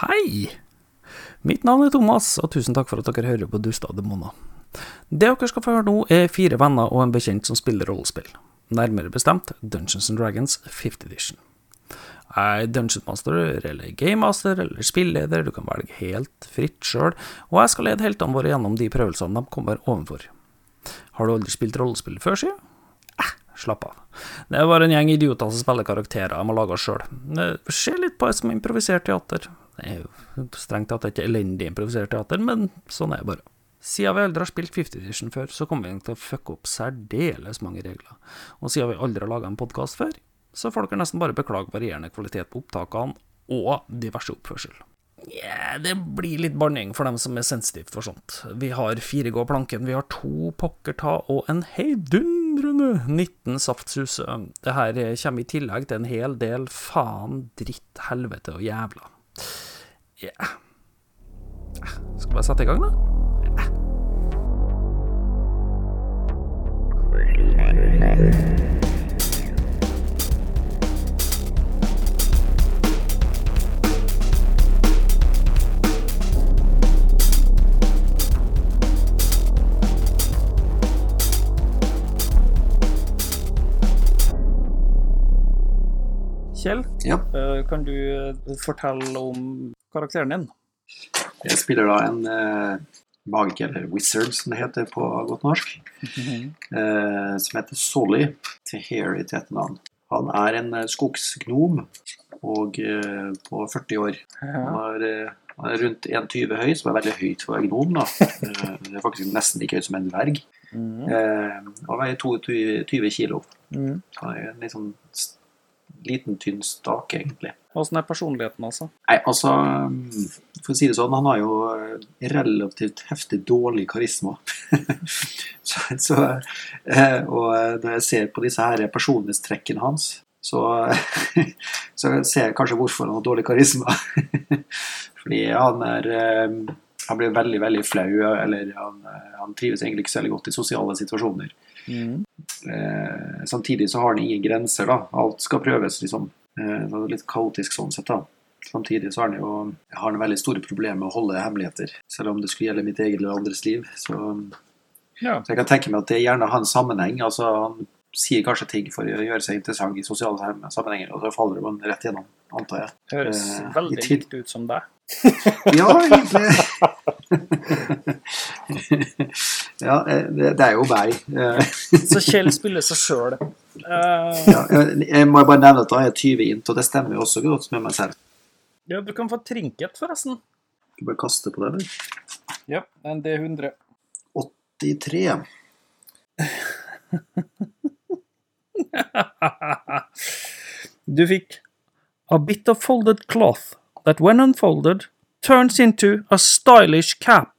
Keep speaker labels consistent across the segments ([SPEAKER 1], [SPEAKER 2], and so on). [SPEAKER 1] Hei! Mitt navn er Thomas, og tusen takk for at dere hører på Duster og demoner. Det dere skal få høre nå, er fire venner og en bekjent som spiller rollespill. Nærmere bestemt Dungeons and Dragons 5th Edition. Jeg er Dungeon Master eller Gamemaster eller spilleder, du kan velge helt fritt sjøl, og jeg skal lede heltene våre gjennom de prøvelsene de kommer ovenfor. Har du aldri spilt rollespill før, sier jeg? Ah, Slapp av. Det er bare en gjeng idioter som spiller karakterer de har laga sjøl. Se litt på det som improvisert teater. Det er jo strengt tatt ikke elendig improvisert teater, men sånn er det bare. Siden vi aldri har spilt 50 Edition før, så kommer vi nok til å fucke opp særdeles mange regler. Og siden vi aldri har laga en podkast før, så får dere nesten bare beklage varierende kvalitet på opptakene og diverse oppførsel. Nja, det blir litt banning for dem som er sensitive for sånt. Vi har fire gå planken, vi har to pokkerta og en heidundrende 19 saftsuse. Det her kommer i tillegg til en hel del faen, dritt, helvete og jævla. Ja Eh, Skal vi bare sette i gang, da? Kjell,
[SPEAKER 2] Ja.
[SPEAKER 1] eh, kan du eh, fortelle om karakteren din?
[SPEAKER 2] Jeg spiller da en eh, mage, eller wizard som det heter på godt norsk, eh, som heter Solly Teheri til etternavn. Han er en eh, skogsgnom og eh, på 40 år. Han
[SPEAKER 1] Ja.
[SPEAKER 2] er, eh, han er rundt 1,20 høy, som er veldig høyt for å være gnom. da. Eh, det er faktisk nesten like høyt som en dverg.
[SPEAKER 1] Mm.
[SPEAKER 2] Eh, han veier 22 kilo.
[SPEAKER 1] Mm.
[SPEAKER 2] Han er en litt sånn s- liten, tynn stake, egentlig.
[SPEAKER 1] Åssen er personligheten, altså?
[SPEAKER 2] Nei, altså mm, For å si det sånn, han har jo eh, relativt heftig dårlig karisma. så, så eh, Og eh, når jeg ser på disse her personlighetstrekkene hans, så, så ser jeg kanskje hvorfor han har dårlig karisma. Fordi han er eh, Han blir veldig, veldig flau, eller han, eh, han trives egentlig ikke så veldig godt i sosiale situasjoner. Mhm.
[SPEAKER 1] Mm.
[SPEAKER 2] Eh, samtidig så har han ingen grenser, da. Alt skal prøves, liksom. Eh, så det er litt kaotisk sånn sett, da. Samtidig så har han jo har han veldig store problemer med å holde hemmeligheter. Selv om det skulle gjelde mitt eget eller andres liv. Så,
[SPEAKER 1] Ja.
[SPEAKER 2] så jeg kan tenke meg at det gjerne har en sammenheng. Altså, han sier kanskje ting for å gjøre seg interessant i sosiale sam- sammenhenger, og så faller man rett gjennom, antar jeg.
[SPEAKER 1] Høres
[SPEAKER 2] Eh, i
[SPEAKER 1] veldig
[SPEAKER 2] tid-
[SPEAKER 1] likt ut som deg.
[SPEAKER 2] Ja, egentlig. ja, eh, det, det er jo meg. Eh,
[SPEAKER 1] Så Kjell spiller seg Eh, sjøl.
[SPEAKER 2] Ja, jeg, jeg må bare nevne at da er jeg 20 int, og det stemmer jo også godt med meg selv.
[SPEAKER 1] ja, du kan få trinket, forresten.
[SPEAKER 2] Skal vi bare kaste på det, eller?
[SPEAKER 1] Ja, en D100.
[SPEAKER 2] 83.
[SPEAKER 1] du fikk A bit of folded cloth that when unfolded turns into a stylish cap.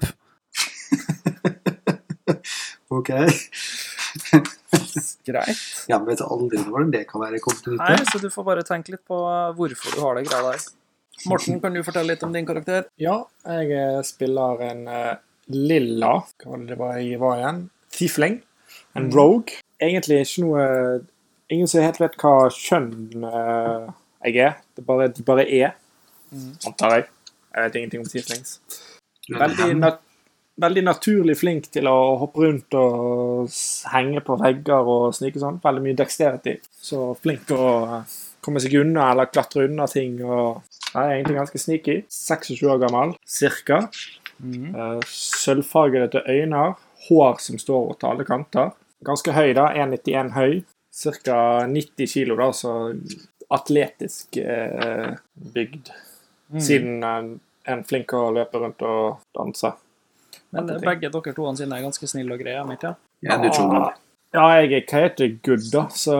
[SPEAKER 2] Ok.
[SPEAKER 1] Greit.
[SPEAKER 2] Ja, men vet aldri hvordan det kan være kommet ut
[SPEAKER 1] Nei,
[SPEAKER 2] av.
[SPEAKER 1] så du får bare tenke litt på eh, hvorfor du har det greia der. Morten, kan du fortelle litt om din karakter?
[SPEAKER 3] Ja, jeg eh, spiller en eh, lilla Hva var det det var jeg var igjen? Tiefling. En rogue. Egentlig ikke noe eh, Ingen som helt vet hva kjønn eh, jeg er. Det bare, de bare er, antar jeg. Jeg vet ingenting om tieflings. Veldig, nat veldig naturlig flink til å hoppe rundt og s- henge på vegger og snike sånn. Veldig mye dexterity. Så flink til å eh, komme seg unna eller klatre unna ting. og Nei, jeg er egentlig ganske sneaky. 26 år gammel, cirka. Eh, Sølvfargede øyne, hår som står over til alle kanter. Ganske høy, da. 1,91 høy. Cirka 90 kilo, da, så atletisk eh, bygd. Siden en, en flink til å løpe rundt og danse.
[SPEAKER 1] Men eh, begge dere to sine er ganske snille og greie, er de ikke?
[SPEAKER 2] Ja, du tror det.
[SPEAKER 3] Ja, jeg er hva heter good, da, så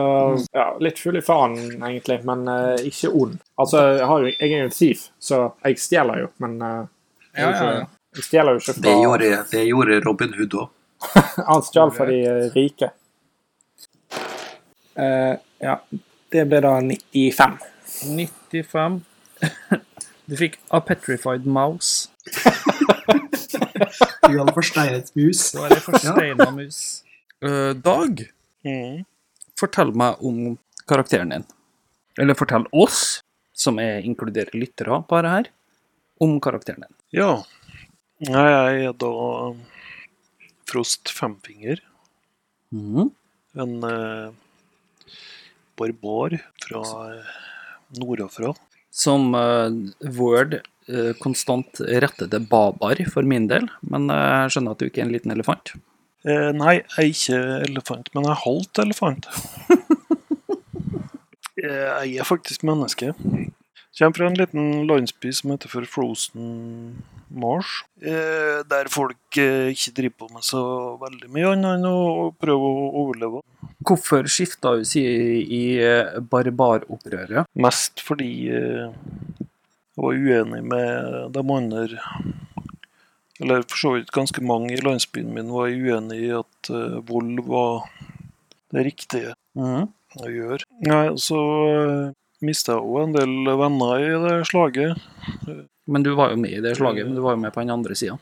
[SPEAKER 3] ja, litt full i faen, egentlig, men eh, ikke ond. Altså, jeg, har jo, jeg er jo en thief, så jeg stjeler jo, men eh, jeg, er jo ikke- jeg stjeler jo ikke
[SPEAKER 2] Det
[SPEAKER 3] fra
[SPEAKER 2] gjorde, det gjorde Robin Hood òg.
[SPEAKER 3] Han stjal fra de eh, rike. Eh, ja, det ble da 95.
[SPEAKER 1] 95. Du fikk A Petrified Mouse.
[SPEAKER 2] Du hadde forsteinet mus.
[SPEAKER 1] Det var ei forsteina mus. Eh, Dag, Mm. fortell meg om karakteren din. Eller fortell oss, som er inkluderer lyttere på dette her, om karakteren din.
[SPEAKER 4] Ja. Nei, jeg er da Frost Femfinger. En eh, barbar fra eh, nordafra.
[SPEAKER 1] Som eh, Word eh, konstant retter til babar for min del, men eh, jeg skjønner at du ikke er en liten elefant.
[SPEAKER 4] Eh, nei, jeg er ikke elefant, men jeg er halvt elefant. Eh, jeg er faktisk menneske. Kommer fra en liten landsby som heter for Frozen Marsh. Eh, der folk eh, ikke driver på med så veldig mye annet enn å prøve å overleve.
[SPEAKER 1] Hvorfor skifta hun side i eh, barbaropprøret?
[SPEAKER 4] Mest fordi eh, jeg var uenig med de andre Eller for så vidt ganske mange i landsbyen min var uenig i at eh, vold var det riktige
[SPEAKER 1] Mhm.
[SPEAKER 4] å gjøre. Nei, så uh, mista jeg òg en del venner i det slaget.
[SPEAKER 1] Men du var jo med i det slaget, men du var jo med på den andre sida.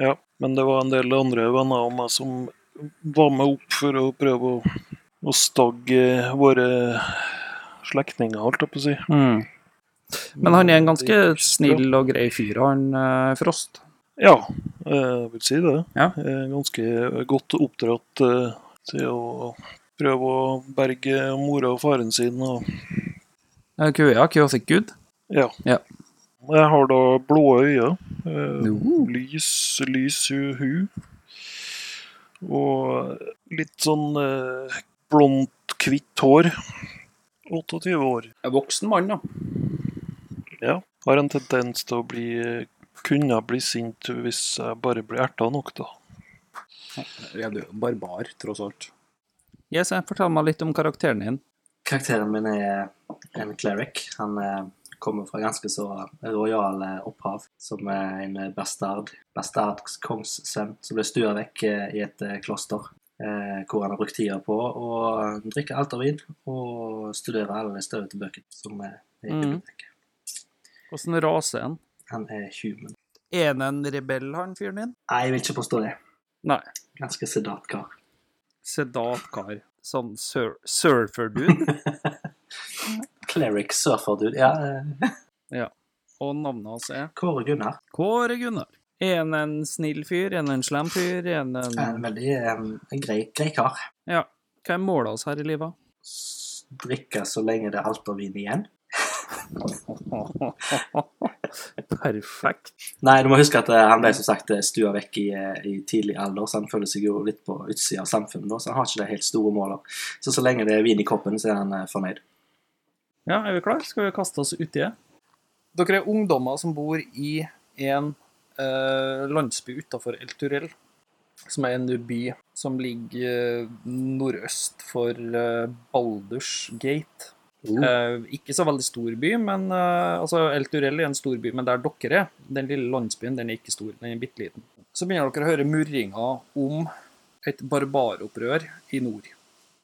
[SPEAKER 4] Ja, men det var en del andre venner av meg som var med opp for å prøve å, å stagge våre slektninger, holdt jeg på å si.
[SPEAKER 1] Men han er en
[SPEAKER 4] Mm. Det
[SPEAKER 1] ganske
[SPEAKER 4] gikk ikke så bra.
[SPEAKER 1] snill og grei fyr, han eh, Frost.
[SPEAKER 4] Ja, eh, jeg vil si det.
[SPEAKER 1] Ja.
[SPEAKER 4] Jeg er Ganske eh, godt oppdratt eh, til å prøve å berge mora og faren sin. Og,
[SPEAKER 1] Eh, Kuea, Chaotic Good.
[SPEAKER 4] ja.
[SPEAKER 1] Ja.
[SPEAKER 4] Jeg har da blå øyne, eh,
[SPEAKER 1] Jo.
[SPEAKER 4] lys, lys hu, hu, og litt sånn eh, blondt, hvitt hår. 28 år.
[SPEAKER 1] En voksen mann, da.
[SPEAKER 4] Ja. Har en tendens til å bli kunne bli sint hvis jeg bare blir erta nok, da.
[SPEAKER 1] Ja, du er jo barbar, tross alt. Yes, jeg fortell meg litt om karakteren din.
[SPEAKER 5] Karakteren min er en cleric. Han eh, kommer fra ganske så rojale opphav, som er en bastard. Bastardkongssønn som ble stua vekk eh, i et eh, kloster. Eh, hvor han har brukt tida på å drikke alt av vin og studere alle de støvete bøkene som er i
[SPEAKER 1] Mhm.
[SPEAKER 5] biblioteket.
[SPEAKER 1] Hvordan rase er han?
[SPEAKER 5] Han er human.
[SPEAKER 1] Er han en rebell, han fyren din?
[SPEAKER 5] Nei, jeg vil ikke påstå det.
[SPEAKER 1] Nei.
[SPEAKER 5] Ganske sedat kar.
[SPEAKER 1] Sedat kar. Sånn sur surfer-dude.
[SPEAKER 5] Cleric surfer-dude. Ja, eh,
[SPEAKER 1] Og navnet hans er
[SPEAKER 5] Kåre Gunnar.
[SPEAKER 1] Kåre Gunnar. Er han en snill fyr? Er han en slem fyr? Er han en
[SPEAKER 5] En veldig eh, en grei, grei kar.
[SPEAKER 1] Ja. Hva er målet hans her i livet?
[SPEAKER 5] S- Drikke så lenge det er alt av vin igjen.
[SPEAKER 1] Perfekt.
[SPEAKER 5] Nei, du må huske at eh, han ble som sagt eh, stua vekk i, eh, i tidlig alder, så han føler seg jo litt på utsida av samfunnet, da, så han har ikke de helt store målene. Så så lenge det er vin i koppen, så er han eh, fornøyd.
[SPEAKER 1] Ja, er vi klare? Skal vi kaste oss uti det? Dere er ungdommer som bor i en eh, landsby utafor El Turell, som er en by som ligger eh, nordøst for eh, Baldurs Gate. Eh, ikke så veldig stor by, men eh, altså El Turell er en stor by, men der dere er, den lille landsbyen, den er ikke stor, den er bitte liten. Så begynner dere å høre murringer om et barbaropprør i nord.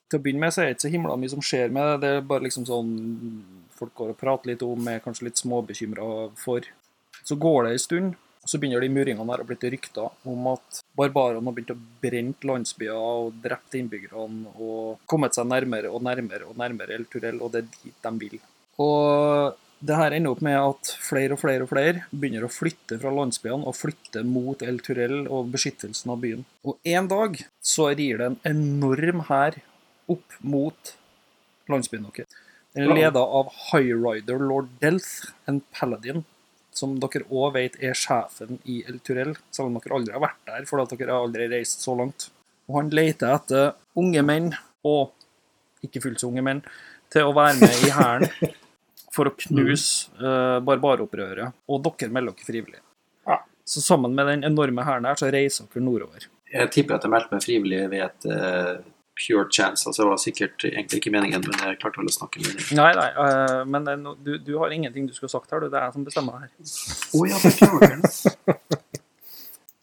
[SPEAKER 1] Til å begynne med så er det ikke så himla mye som skjer med det, det er bare liksom sånn folk går og prater litt om, er kanskje litt småbekymra for. Så går det en stund, og så begynner de murringene her å bli til rykter om at barbarene har begynt å brenne landsbyer og drept innbyggerne og kommet seg nærmere og nærmere og nærmere El Turell, og det er dit de vil. Og det her ender opp med at flere og flere og flere begynner å flytte fra landsbyene og flytte mot El Turell og beskyttelsen av byen. Og en dag så rir det en enorm hær opp mot landsbyen deres. Den er leda av Highrider lord Delth, en paladin som dere òg vet er sjefen i El Turell, selv om dere aldri har vært der, fordi at dere har aldri reist så langt. Og han leter etter unge menn, og ikke fullt så unge menn, til å være med i hæren for å knuse eh, barbaropprøret. Og dere melder dere frivillig.
[SPEAKER 3] Ja.
[SPEAKER 1] Så sammen med den enorme hæren her, så reiser dere nordover.
[SPEAKER 2] Jeg tipper at jeg meldte meg frivillig ved et eh, pure chance. Altså, det var sikkert egentlig ikke meningen, men jeg klarte vel å snakke med dem.
[SPEAKER 1] Nei, nei, eh, men det er no- du, du har ingenting du skulle sagt her, du. Det er jeg som bestemmer her.
[SPEAKER 2] Å ja, beklager.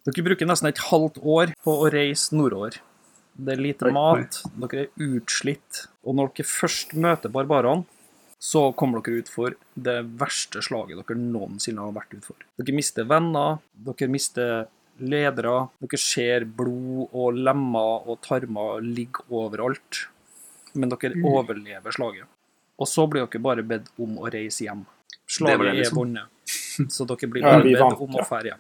[SPEAKER 1] Dere bruker nesten et halvt år på å reise nordover. Det er lite
[SPEAKER 2] Oi, oi.
[SPEAKER 1] mat, dere er utslitt, og når dere først møter barbarene, så kommer dere ut for det verste slaget dere noensinne har vært ut for. Dere mister venner, dere mister ledere, dere ser blod og lemmer og tarmer ligge overalt, men dere
[SPEAKER 2] Mm.
[SPEAKER 1] overlever slaget. Og så blir dere bare bedt om å reise hjem.
[SPEAKER 2] Det var det,
[SPEAKER 1] Slaget er
[SPEAKER 2] liksom.
[SPEAKER 1] vunnet. Så dere blir
[SPEAKER 3] Ja, vi
[SPEAKER 1] bedt
[SPEAKER 3] vant,
[SPEAKER 1] om
[SPEAKER 3] ja.
[SPEAKER 1] å fære hjem.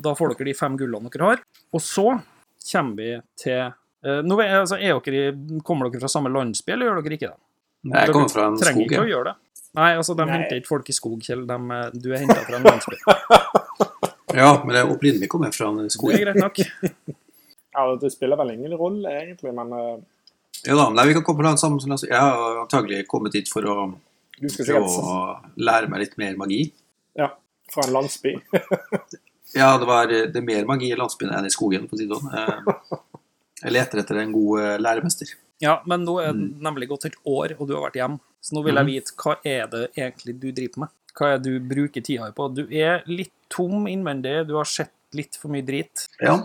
[SPEAKER 1] Da får dere de fem gullene dere har. Og så kommer vi til eh, nå vet jeg, altså, er dere, i- Kommer dere fra samme landsby, eller gjør dere ikke det?
[SPEAKER 2] Jeg kommer fra en
[SPEAKER 1] Trenger
[SPEAKER 2] skog.
[SPEAKER 1] ikke
[SPEAKER 2] ja.
[SPEAKER 1] å gjøre det. Nei, altså, de
[SPEAKER 3] Nei.
[SPEAKER 1] henter ikke folk i skog, Kjell. De, eh, du er henta fra en landsby.
[SPEAKER 2] Ja, men jeg opprinnelig kom jeg fra en skog.
[SPEAKER 1] Det er greit nok.
[SPEAKER 3] Ja, det spiller vel ingen rolle, egentlig, men eh,
[SPEAKER 2] Ja da, nei, vi kan komme fra en sammen. Jeg har antagelig kommet hit for å
[SPEAKER 3] du skal sikkert
[SPEAKER 2] prøve å lære meg litt mer magi.
[SPEAKER 3] ja, fra en landsby.
[SPEAKER 2] Ja, det, var, eh, det er mer magi i landsbyen enn i skogen, for å si det sånn. Eh, Jeg leter etter en god eh, læremester.
[SPEAKER 1] Ja, men nå er
[SPEAKER 3] Mm.
[SPEAKER 1] det nemlig gått et år, og du har vært hjemme. Så nå vil jeg vite hva er det egentlig du driver med? Hva er det du bruker tida di på? Du er litt tom innvendig, du har sett litt for mye drit.
[SPEAKER 2] Ja.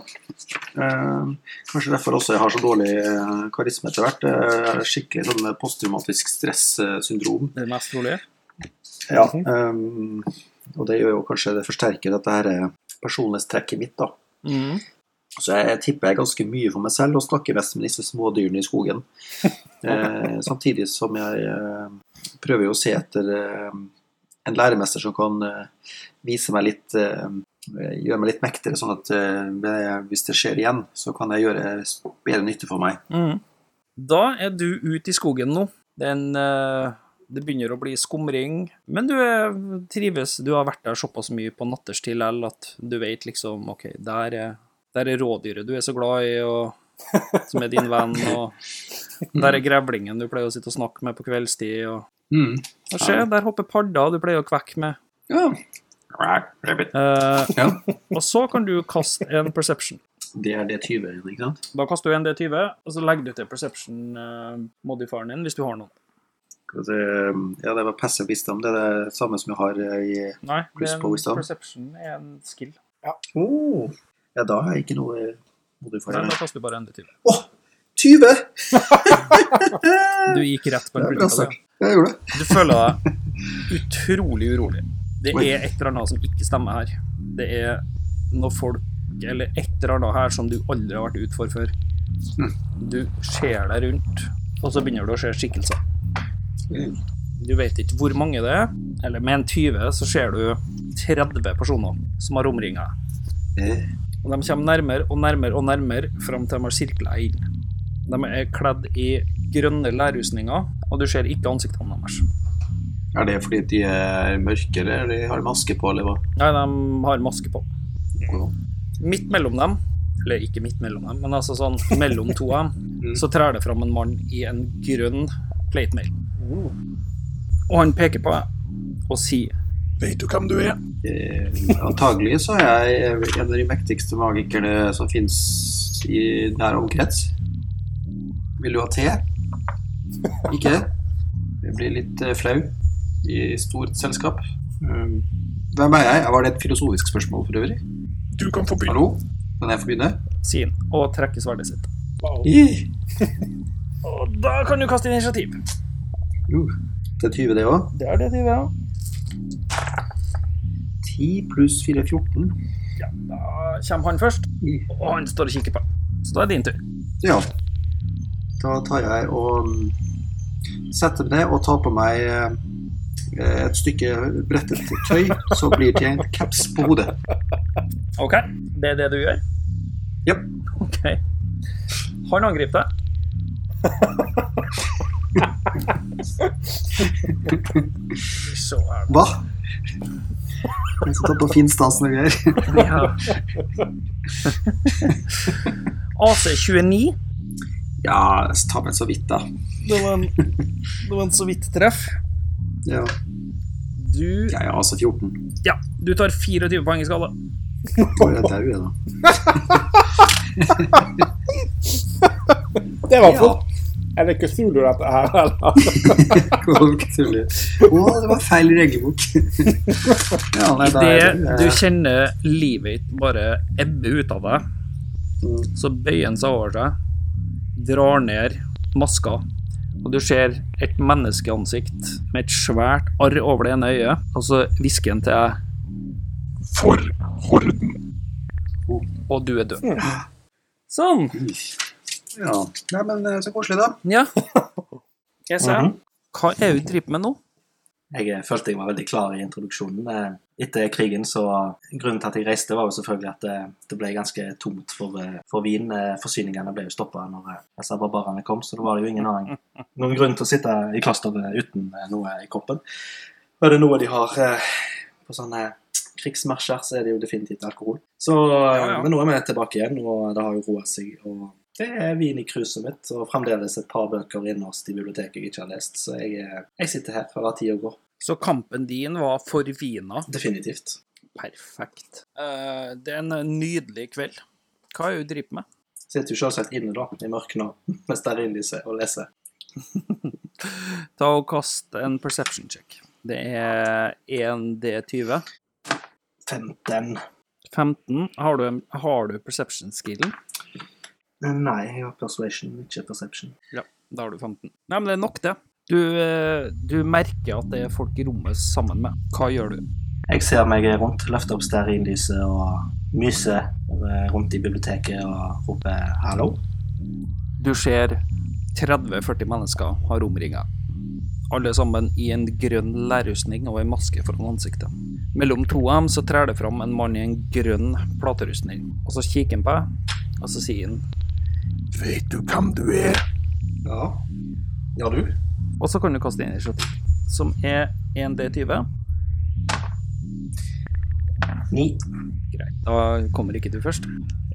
[SPEAKER 2] Eh, Kanskje derfor også jeg har så dårlig eh, karisme etter hvert. Eh, jeg har Skikkelig sånn eh, posttraumatisk stressyndrom.
[SPEAKER 1] Det er mest rolig.
[SPEAKER 2] Ja. ehm, og det gjør jo kanskje det forsterker dette her eh, personlighetstrekket mitt, da.
[SPEAKER 3] Mm.
[SPEAKER 1] Mhm.
[SPEAKER 2] Så jeg, jeg tipper jeg ganske mye for meg selv og snakker mest med disse små dyrene i skogen. Eh, samtidig som jeg eh, prøver jo å se etter eh, en læremester som kan eh, vise meg litt eh, Gjøre meg litt mektigere, sånn at eh, ved- hvis det skjer igjen, så kan jeg gjøre bedre nytte for meg.
[SPEAKER 1] Mhm. Da er du ute i skogen nå. Det, er en, eh, det begynner å bli skumring, men du er, trives. Du har vært der såpass mye på natterstid likevel at du vet liksom OK, der er, der er rådyret du er så glad i, og som er din venn, og der er grevlingen du pleier å sitte og snakke med på kveldstid. og Hva skjer? Der hopper padda du pleier å kvekke med.
[SPEAKER 2] Ja. Rabbit.
[SPEAKER 1] Eh,
[SPEAKER 2] Ja.
[SPEAKER 1] og så kan du kaste en perception.
[SPEAKER 2] Det er det 20 ikke sant?
[SPEAKER 1] Da kaster du en D20, og så legger du til perception-modifieren din hvis du har noen.
[SPEAKER 2] Skal vi se, Ja, det var passive wisdom. Det er det samme som jeg har eh, i
[SPEAKER 1] Nei, det
[SPEAKER 2] Pluss
[SPEAKER 1] er en
[SPEAKER 2] på wisdom.
[SPEAKER 1] perception er en skill.
[SPEAKER 2] oh. Ja, da har jeg ikke noe eh, modifier.
[SPEAKER 1] Nei, da kaster du bare en D20.
[SPEAKER 2] 20!
[SPEAKER 1] Du gikk rett på
[SPEAKER 2] Det
[SPEAKER 1] en altså.
[SPEAKER 2] er
[SPEAKER 1] brutal.
[SPEAKER 2] bra sagt. Jeg gjorde det.
[SPEAKER 1] Du føler deg utrolig urolig. Det
[SPEAKER 2] Oi.
[SPEAKER 1] er et eller annet som ikke stemmer her. Det er noe folk eller et eller annet her som du aldri har vært ute for før.
[SPEAKER 2] Hm.
[SPEAKER 1] Du ser deg rundt, og så begynner du å se skikkelser. Du vet ikke hvor mange det er, eller med en 20 så ser du 30 personer som har omringa deg.
[SPEAKER 2] Eh,
[SPEAKER 1] Og de kommer nærmere og nærmere og nærmere fram til de har sirkla deg inn. De er kledd i grønne lærrustninger, og du ser ikke ansiktene deres.
[SPEAKER 2] Er det fordi de er mørke, eller er de har de maske på, eller hva?
[SPEAKER 1] Nei, de har maske på.
[SPEAKER 2] Ja.
[SPEAKER 1] Midt mellom dem, eller ikke midt mellom dem, men altså sånn mellom to av dem, så trær det fram en mann i en grønn platemail. Og han peker på deg og sier
[SPEAKER 4] Veit du hvem du er?
[SPEAKER 2] Eh, antagelig så er jeg en av de mektigste magikerne som finnes i nær omkrets. Vil du ha te? Ikke? Jeg blir litt eh, flau i stort selskap. Um, Hvem er jeg? Var det et filosofisk spørsmål for øvrig?
[SPEAKER 4] Du kan få begynne.
[SPEAKER 2] Hallo? Kan jeg få begynne?
[SPEAKER 1] Sier han, og trekker sverdet sitt.
[SPEAKER 2] Ih,
[SPEAKER 1] Og da kan du kaste initiativ.
[SPEAKER 2] jo, Uh, Det er 20, det òg.
[SPEAKER 1] Det er det, det ja.
[SPEAKER 2] 10 pluss 4 er 14.
[SPEAKER 1] Da kommer han først,
[SPEAKER 2] Ih.
[SPEAKER 1] og han står og kikker på. deg. Så da er det din tur.
[SPEAKER 2] Ja. Da tar jeg og mm, setter meg ned og tar på meg eh, et stykke brettet tøy som blir til en caps på hodet.
[SPEAKER 1] OK, det er det du gjør?
[SPEAKER 2] Japp.
[SPEAKER 1] OK. Han angriper deg. Så er det.
[SPEAKER 2] Hva? Jeg skal ta på fin stas og greier.
[SPEAKER 1] Ja. AC 29.
[SPEAKER 2] Ja, jeg tar meg så vidt, da.
[SPEAKER 1] Det var en, det var en så vidt treff.
[SPEAKER 2] Ja,
[SPEAKER 1] Du,
[SPEAKER 2] jeg er altså 14.
[SPEAKER 1] ja, du tar 24 poeng i skala.
[SPEAKER 2] Hvor er jeg dau, da?
[SPEAKER 3] Det var fort. Er det Cthulhu dette her, eller?
[SPEAKER 2] Hvor tuller du? Å, det var feil regelbok. Ja, nei, da er
[SPEAKER 1] Idet du
[SPEAKER 2] det- eh,
[SPEAKER 1] kjenner livet ditt bare ebbe ut av deg,
[SPEAKER 2] Mm.
[SPEAKER 1] så bøyer han seg over deg, drar ned maska, og du ser et menneskeansikt med et svært arr over det ene øyet, og så hvisker han til deg,
[SPEAKER 4] For horden.
[SPEAKER 1] og du er død. Sånn.
[SPEAKER 2] Ja, nei, men eh, så koselig, da.
[SPEAKER 3] Mhm.
[SPEAKER 1] Ja. Jeg ser. Hva er det du driver med nå?
[SPEAKER 5] Jeg eh, følte jeg var veldig klar i introduksjonen. Eh, Etter krigen så Grunnen til at jeg reiste, var jo selvfølgelig at eh, det ble ganske tomt for, eh, for vin. Eh, Forsyningene ble jo stoppa når eh, disse barbarene kom, så da var det jo ingen annen noen grunn til å sitte i klosteret uten eh, noe i kroppen. Og er det noe de har eh, på sånne krigsmarsjer, så er det jo definitivt alkohol. Så, eh,
[SPEAKER 4] ja.
[SPEAKER 5] Men nå er vi tilbake igjen, og det har jo roa seg. og det er vin i kruset mitt, og fremdeles et par bøker innerst i biblioteket jeg ikke har lest. Så jeg, eh, jeg sitter her og lar tida gå.
[SPEAKER 1] Så kampen din var for Vina.
[SPEAKER 5] Definitivt.
[SPEAKER 1] Perfekt. Eh, det er en nydelig kveld. Hva er det du driver med?
[SPEAKER 5] Sitter jo selvsagt inne, da, i mørket nå, med stearinlyset og leser.
[SPEAKER 1] Ta og Kast en perception check. Det er 1D20.
[SPEAKER 5] 15
[SPEAKER 1] 15. Har du, har du perception skillen?
[SPEAKER 5] Eh, Nei, jeg har persuasion, ikke perception.
[SPEAKER 1] Da har du 15. Nei, men det er nok, det. Du, eh, du merker at det er folk i rommet sammen med. Hva gjør du?
[SPEAKER 5] Jeg ser meg rundt, løfter opp stearinlyset og myser eh, rundt i biblioteket og roper 'hallo'.
[SPEAKER 1] Du ser 30-40 mennesker har omringa. Alle sammen i en grønn lærrustning og en maske foran ansiktet. Mellom to av dem så trær det fram en mann i en grønn platerustning. Og så kikker han på deg, og så sier han
[SPEAKER 6] Vet du hvem du er?
[SPEAKER 5] Ja. Ja, du?
[SPEAKER 1] Og så kan du kaste initiativ, som er 1D20.
[SPEAKER 5] Ni.
[SPEAKER 1] Greit, da kommer ikke du først.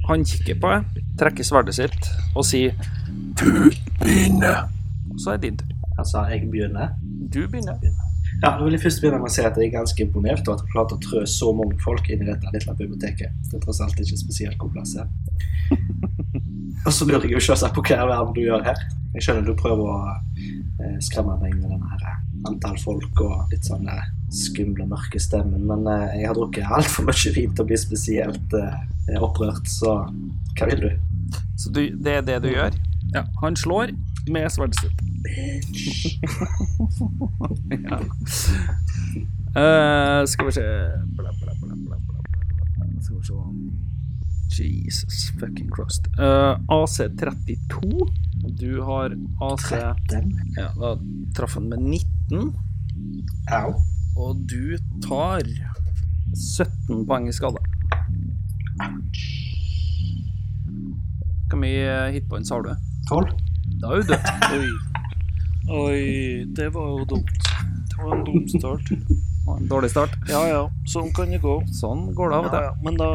[SPEAKER 1] Han kikker på deg, trekker sverdet sitt og sier
[SPEAKER 6] Begynne.
[SPEAKER 1] Og så er det din tur.
[SPEAKER 5] Altså, jeg begynner.
[SPEAKER 1] Du begynner.
[SPEAKER 5] Ja, Da vil jeg først begynne med å si at jeg er ganske imponert over at jeg klarte å trø så mange folk inn i dette lille biblioteket. Det er tross alt ikke spesielt god plass her. Og så lurer jeg jo selvsagt på hva i all verden du gjør her. Jeg skjønner du prøver å eh, skremme meg med denne her eh, antall folk og litt sånn eh, skumle, mørke stemmen, men eh, jeg har drukket altfor mye vin til å bli spesielt eh, opprørt, så hva vil du?
[SPEAKER 1] Så du, det er det du gjør? Ja. Han slår med sverdet sitt. ja. Eh, skal vi se bla, bla, bla, bla, bla, bla, bla. Skal vi se Jesus fucking Christ. Eh, AC 32. Du har AC
[SPEAKER 5] Den?
[SPEAKER 1] Ja, da traff han med 19,
[SPEAKER 5] Au.
[SPEAKER 1] og du tar 17 poeng i skade. Hvor mye hitpoints har du?
[SPEAKER 5] Tolv?
[SPEAKER 1] Da er du død.
[SPEAKER 4] Oi. Oi, det var jo dumt. Det var en dum start.
[SPEAKER 1] En Dårlig start.
[SPEAKER 4] Ja ja, sånn kan det gå.
[SPEAKER 1] Sånn går det av og
[SPEAKER 4] Ja,
[SPEAKER 1] til.
[SPEAKER 4] ja. Men da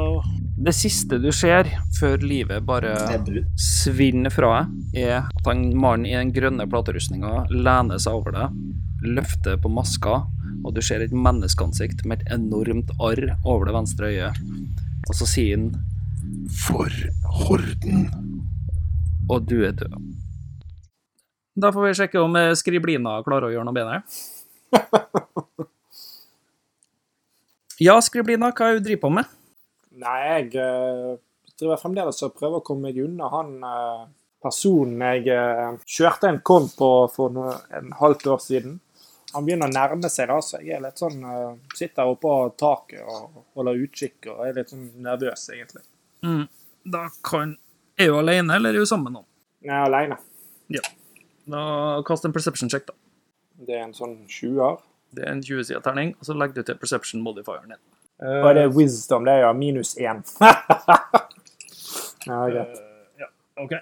[SPEAKER 1] Det siste du ser før livet bare
[SPEAKER 5] Nebbu.
[SPEAKER 1] svinner fra deg, er at han mannen i den grønne platerustninga lener seg over deg, løfter på maska, og du ser et menneskeansikt med et enormt arr over det venstre øyet. Og så sier han
[SPEAKER 6] For horden.
[SPEAKER 1] Og du er død. Da får vi sjekke om eh, Skriblina klarer å gjøre noe bedre. Ja, Skriblina, hva er det du driver på med?
[SPEAKER 3] Nei, jeg eh, driver fremdeles og prøver å komme meg unna han eh, personen jeg eh, kjørte en kom på for no en halvt år siden. Han begynner å nærme seg, da, så jeg er litt sånn eh, Sitter oppe på taket og holder utkikk og er litt sånn nervøs, egentlig.
[SPEAKER 1] Da kan Er hun alene, eller er hun sammen med noen?
[SPEAKER 3] Jeg er aleine.
[SPEAKER 1] Da Kast en perception check, da.
[SPEAKER 3] Det er en sånn 20-er.
[SPEAKER 1] Det er en 20-sida terning, og så legger du til perception modifieren din.
[SPEAKER 3] Og det er wisdom, det er ja. Minus én. ja, greit.
[SPEAKER 1] OK.
[SPEAKER 3] Eh,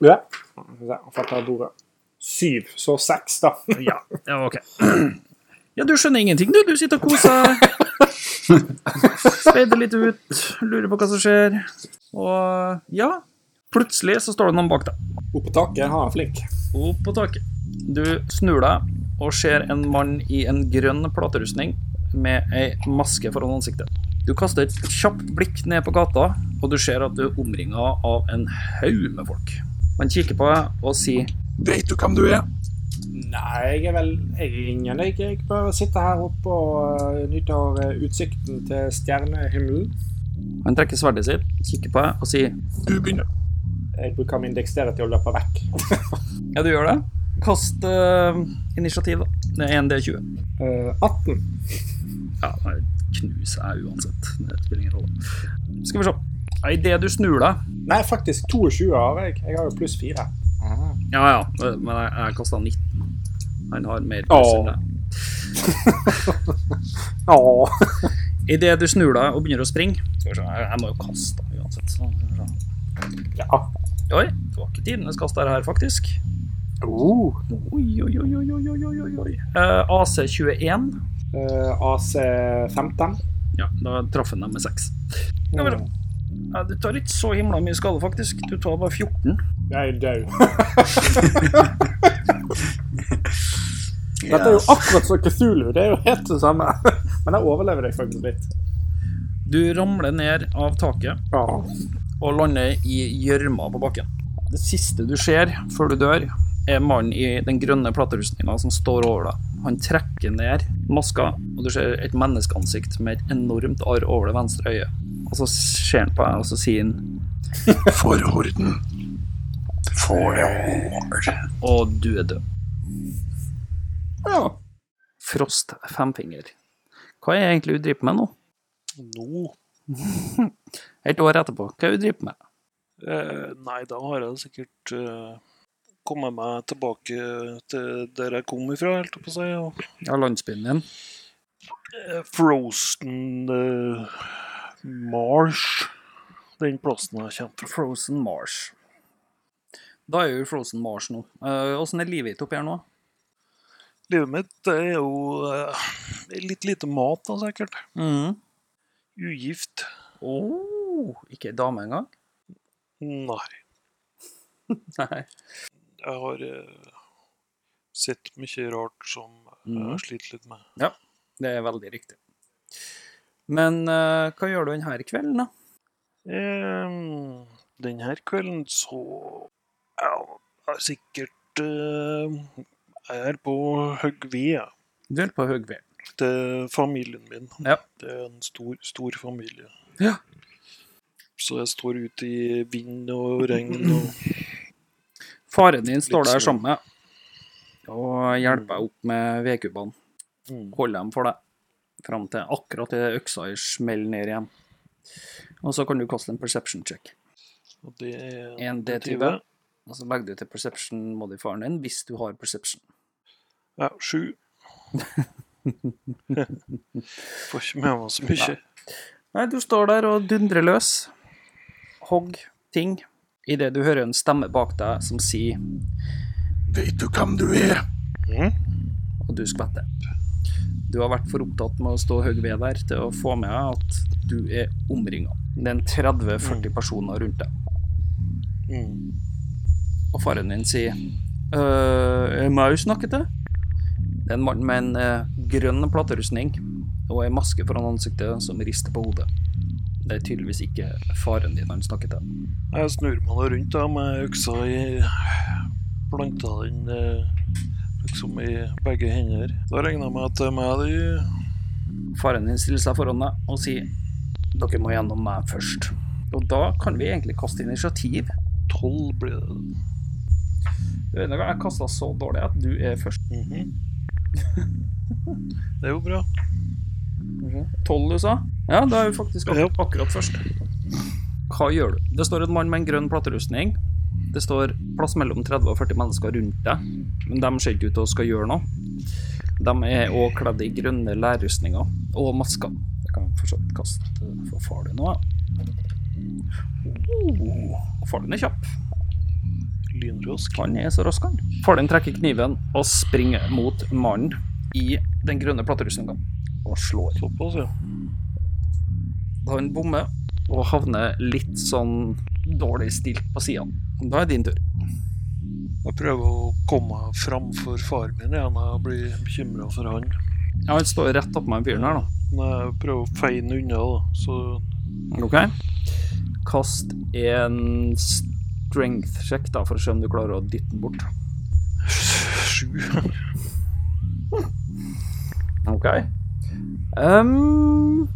[SPEAKER 3] Ja. Jeg fatter bordet. Syv, så seks, da.
[SPEAKER 1] Ja, ja, ok. Ja, du skjønner ingenting, du. Du sitter og koser deg. Speider litt ut, lurer på hva som skjer. Og ja, plutselig så står det noen bak deg.
[SPEAKER 3] Oppe på taket, han er flink.
[SPEAKER 1] Opp på taket. Du snur deg og ser en mann i en grønn platerustning med ei maske foran ansiktet. Du kaster et kjapt blikk ned på gata, og du ser at du er omringa av en haug med folk. Han kikker på deg og sier
[SPEAKER 6] Vet du hvem du er?
[SPEAKER 3] Nei, jeg er vel jeg er ingen. Jeg, jeg bare sitter her oppe og eh, nyter eh, utsikten til stjernehimmelen.
[SPEAKER 1] Han trekker sverdet sitt, kikker på deg og sier
[SPEAKER 6] Du begynner.
[SPEAKER 3] Jeg bruker min dexterity til å løpe vekk.
[SPEAKER 1] Ja, du gjør det. Kast eh, initiativ, da. Det er 1D20.
[SPEAKER 3] Eh, 18.
[SPEAKER 1] Ja, det knuser jeg uansett. Det spiller ingen rolle. Skal vi se. Idet du snur deg
[SPEAKER 3] Nei, faktisk 22 har jeg. Jeg har jo pluss 4.
[SPEAKER 1] Ja, ja, men jeg, jeg kasta 19. Han har mer pluss enn
[SPEAKER 3] Åh.
[SPEAKER 1] deg.
[SPEAKER 3] Åh.
[SPEAKER 1] Idet du snur deg og begynner å springe Skal vi se, Jeg må jo kaste den uansett. Så, skal vi se.
[SPEAKER 3] Ja.
[SPEAKER 1] Oi, det var ikke tidenes kast der her, faktisk.
[SPEAKER 3] Oh.
[SPEAKER 1] Oi, oi, oi, oi, oi, oi, oi, oi. Eh, AC21.
[SPEAKER 3] Eh, AC15.
[SPEAKER 1] Ja, da traff han dem med seks. Ja, bra. Ja, du tar ikke så himla mye skade, faktisk. Du tar bare 14.
[SPEAKER 3] Jeg er død. Dette er jo akkurat som Cthulhu. Det er jo helt det samme. Men jeg overlever deg faktisk litt.
[SPEAKER 1] Du ramler ned av taket
[SPEAKER 3] Ja.
[SPEAKER 1] og lander i gjørma på bakken. Det siste du ser før du dør, er mannen i den grønne platerustninga som står over deg. Han trekker ned maska, og du ser et menneskeansikt med et enormt arr over det venstre øyet. Og så ser han på deg, og så sier han
[SPEAKER 6] For horden. For
[SPEAKER 1] Og du er død.
[SPEAKER 3] ja.
[SPEAKER 1] Frost femfinger. Hva er egentlig du driver med nå?
[SPEAKER 4] Nå?
[SPEAKER 1] Et år etterpå, hva er du driver med?
[SPEAKER 4] Eh, nei, da har jeg sikkert eh, kommet meg tilbake til der jeg kom ifra, holdt jeg på å si. Og
[SPEAKER 1] Ja, landsbyen din.
[SPEAKER 4] eh, Frozen eh, Marsh. Den plassen jeg kommer fra.
[SPEAKER 1] Frozen Marsh. Da er jo Frozen Marsh nå. Eh, Åssen er livet ditt oppi her nå?
[SPEAKER 4] Livet mitt det er jo eh, litt lite mat, da, sikkert.
[SPEAKER 1] Mm.
[SPEAKER 4] Ugift.
[SPEAKER 1] Oh, ikke ei dame engang?
[SPEAKER 4] Nei.
[SPEAKER 1] Nei.
[SPEAKER 4] Jeg har eh, sett mye rart som jeg
[SPEAKER 1] Mhm.
[SPEAKER 4] har slitt litt med.
[SPEAKER 1] Det er veldig riktig. Men eh, hva gjør du denne kvelden, da?
[SPEAKER 4] Um, den her kvelden så ja, jeg er sikkert eh, Jeg er på hogg ved jeg,
[SPEAKER 1] Du holder på Høgved.
[SPEAKER 4] til familien min.
[SPEAKER 1] Ja.
[SPEAKER 4] Det er en stor, stor familie.
[SPEAKER 1] Ja.
[SPEAKER 4] Så jeg står ute i vind og regn og
[SPEAKER 1] Faren din står der
[SPEAKER 4] Litt sånn.
[SPEAKER 1] sammen med deg og hjelper deg opp med vedkubene.
[SPEAKER 4] Mm.
[SPEAKER 1] Holder dem for deg fram til akkurat det øksa smeller ned igjen. Og så kan du kaste en perception check.
[SPEAKER 4] Og det er
[SPEAKER 1] En D20. Og så legger du til perception modifieren din hvis du har perception.
[SPEAKER 4] Ja, sju. Får ikke med meg så mye.
[SPEAKER 1] Nei, du står der og dundrer løs. Hogg ting. Idet du hører en stemme bak deg som sier
[SPEAKER 6] Vet du hvem du er?
[SPEAKER 1] og du skvetter. Du har vært for opptatt med å stå høy ved der til å få med deg at du er omringa. Det er en 30-40 personer rundt deg.
[SPEAKER 4] Mm.
[SPEAKER 1] Og faren din sier «Øh, Er det meg du snakker til? Det er en mann med en eh, grønn platerustning og ei maske foran ansiktet som rister på hodet. Det er tydeligvis ikke faren din han snakker til.
[SPEAKER 4] Jeg snur meg nå rundt da med øksa i Planta den eh, liksom i begge hender. Da regner jeg med at det er meg de
[SPEAKER 1] Faren din stiller seg foran deg og sier Dere må gjennom meg først. Og da kan vi egentlig kaste initiativ.
[SPEAKER 4] tolv blir det.
[SPEAKER 1] Du vet ikke, Jeg kasta så dårlig at du er først.
[SPEAKER 4] Mhm. Det er jo bra.
[SPEAKER 1] Tolv, du sa? Ja, da er vi faktisk ak
[SPEAKER 4] Ja.
[SPEAKER 1] akkurat først. Hva gjør du? Det står en mann med en grønn platerustning. Det står plass mellom 30 og 40 mennesker rundt deg, men de ser ikke ut til å skal gjøre noe. De er òg kledd i grønne lærrustninger og masker. Jeg kan fortsatt kaste for far din nå. Oh, far din er kjapp.
[SPEAKER 4] Lynrask.
[SPEAKER 1] Han er så rask, han. Faren trekker kniven og springer mot mannen i den grønne platerustninga og slår.
[SPEAKER 4] Såpass, ja.
[SPEAKER 1] Han bommer og havner litt sånn dårlig stilt på sidene. Da er din tur.
[SPEAKER 4] Jeg prøver å komme meg framfor faren min igjen. Jeg blir bekymra for han.
[SPEAKER 1] Ja, Han står rett opp med den fyren her, da.
[SPEAKER 4] Men jeg prøver å feine unna, da. Så
[SPEAKER 1] OK? Kast en strength-sjekk, da, for å se om du klarer å dytte den bort.
[SPEAKER 4] sju.
[SPEAKER 1] OK. Um,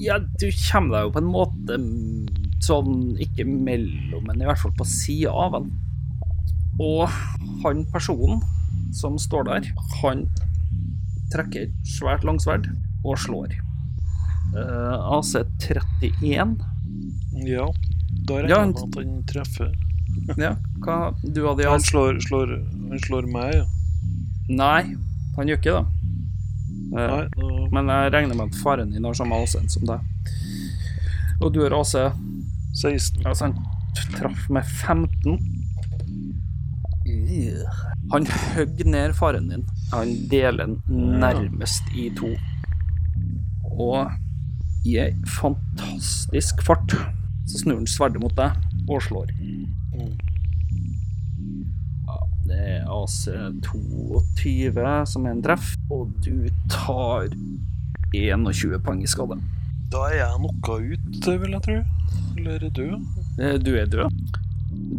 [SPEAKER 1] ja, du kommer deg jo på en måte mm, sånn ikke mellom, men i hvert fall på sida av han. Og han personen som står der, han trekker et svært langsverd og slår. Eh, AC 31.
[SPEAKER 4] Ja. Da regner
[SPEAKER 1] Ja,
[SPEAKER 4] jeg
[SPEAKER 1] han-
[SPEAKER 4] med at han treffer.
[SPEAKER 1] Ja, hva du hadde i
[SPEAKER 4] Han
[SPEAKER 1] AC?
[SPEAKER 4] slår, slår, han slår meg, ja.
[SPEAKER 1] Nei, han gjør ikke det.
[SPEAKER 7] Eh,
[SPEAKER 4] Nei, da
[SPEAKER 7] Men jeg regner med at faren din har samme AC-en som deg. Og du har AC
[SPEAKER 4] 16.
[SPEAKER 7] Altså, han traff med 15. Han høgg ned faren din. Han deler den nærmest i to. Og i ei fantastisk fart så snur han sverdet mot deg og slår. Ja, det er AC22 som er en treff, og du tar 21 poeng i skade.
[SPEAKER 4] Da er jeg knocka ut, vil jeg tro. Eller er død.
[SPEAKER 7] Eh, Du er død.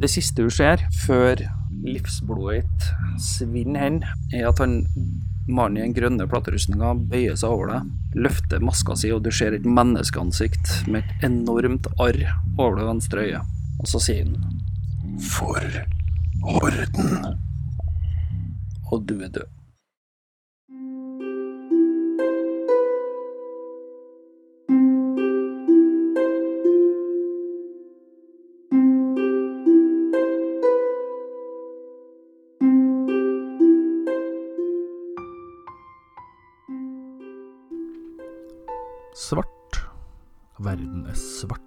[SPEAKER 7] Det siste du ser før livsblodet ditt svinner hen, er at han mannen i den grønne platerustninga bøyer seg over deg, løfter maska si, og du ser et menneskeansikt med et enormt arr over det venstre øyet. Og så sier han
[SPEAKER 1] For horden.
[SPEAKER 7] og du er død. Svart. Verden er svart.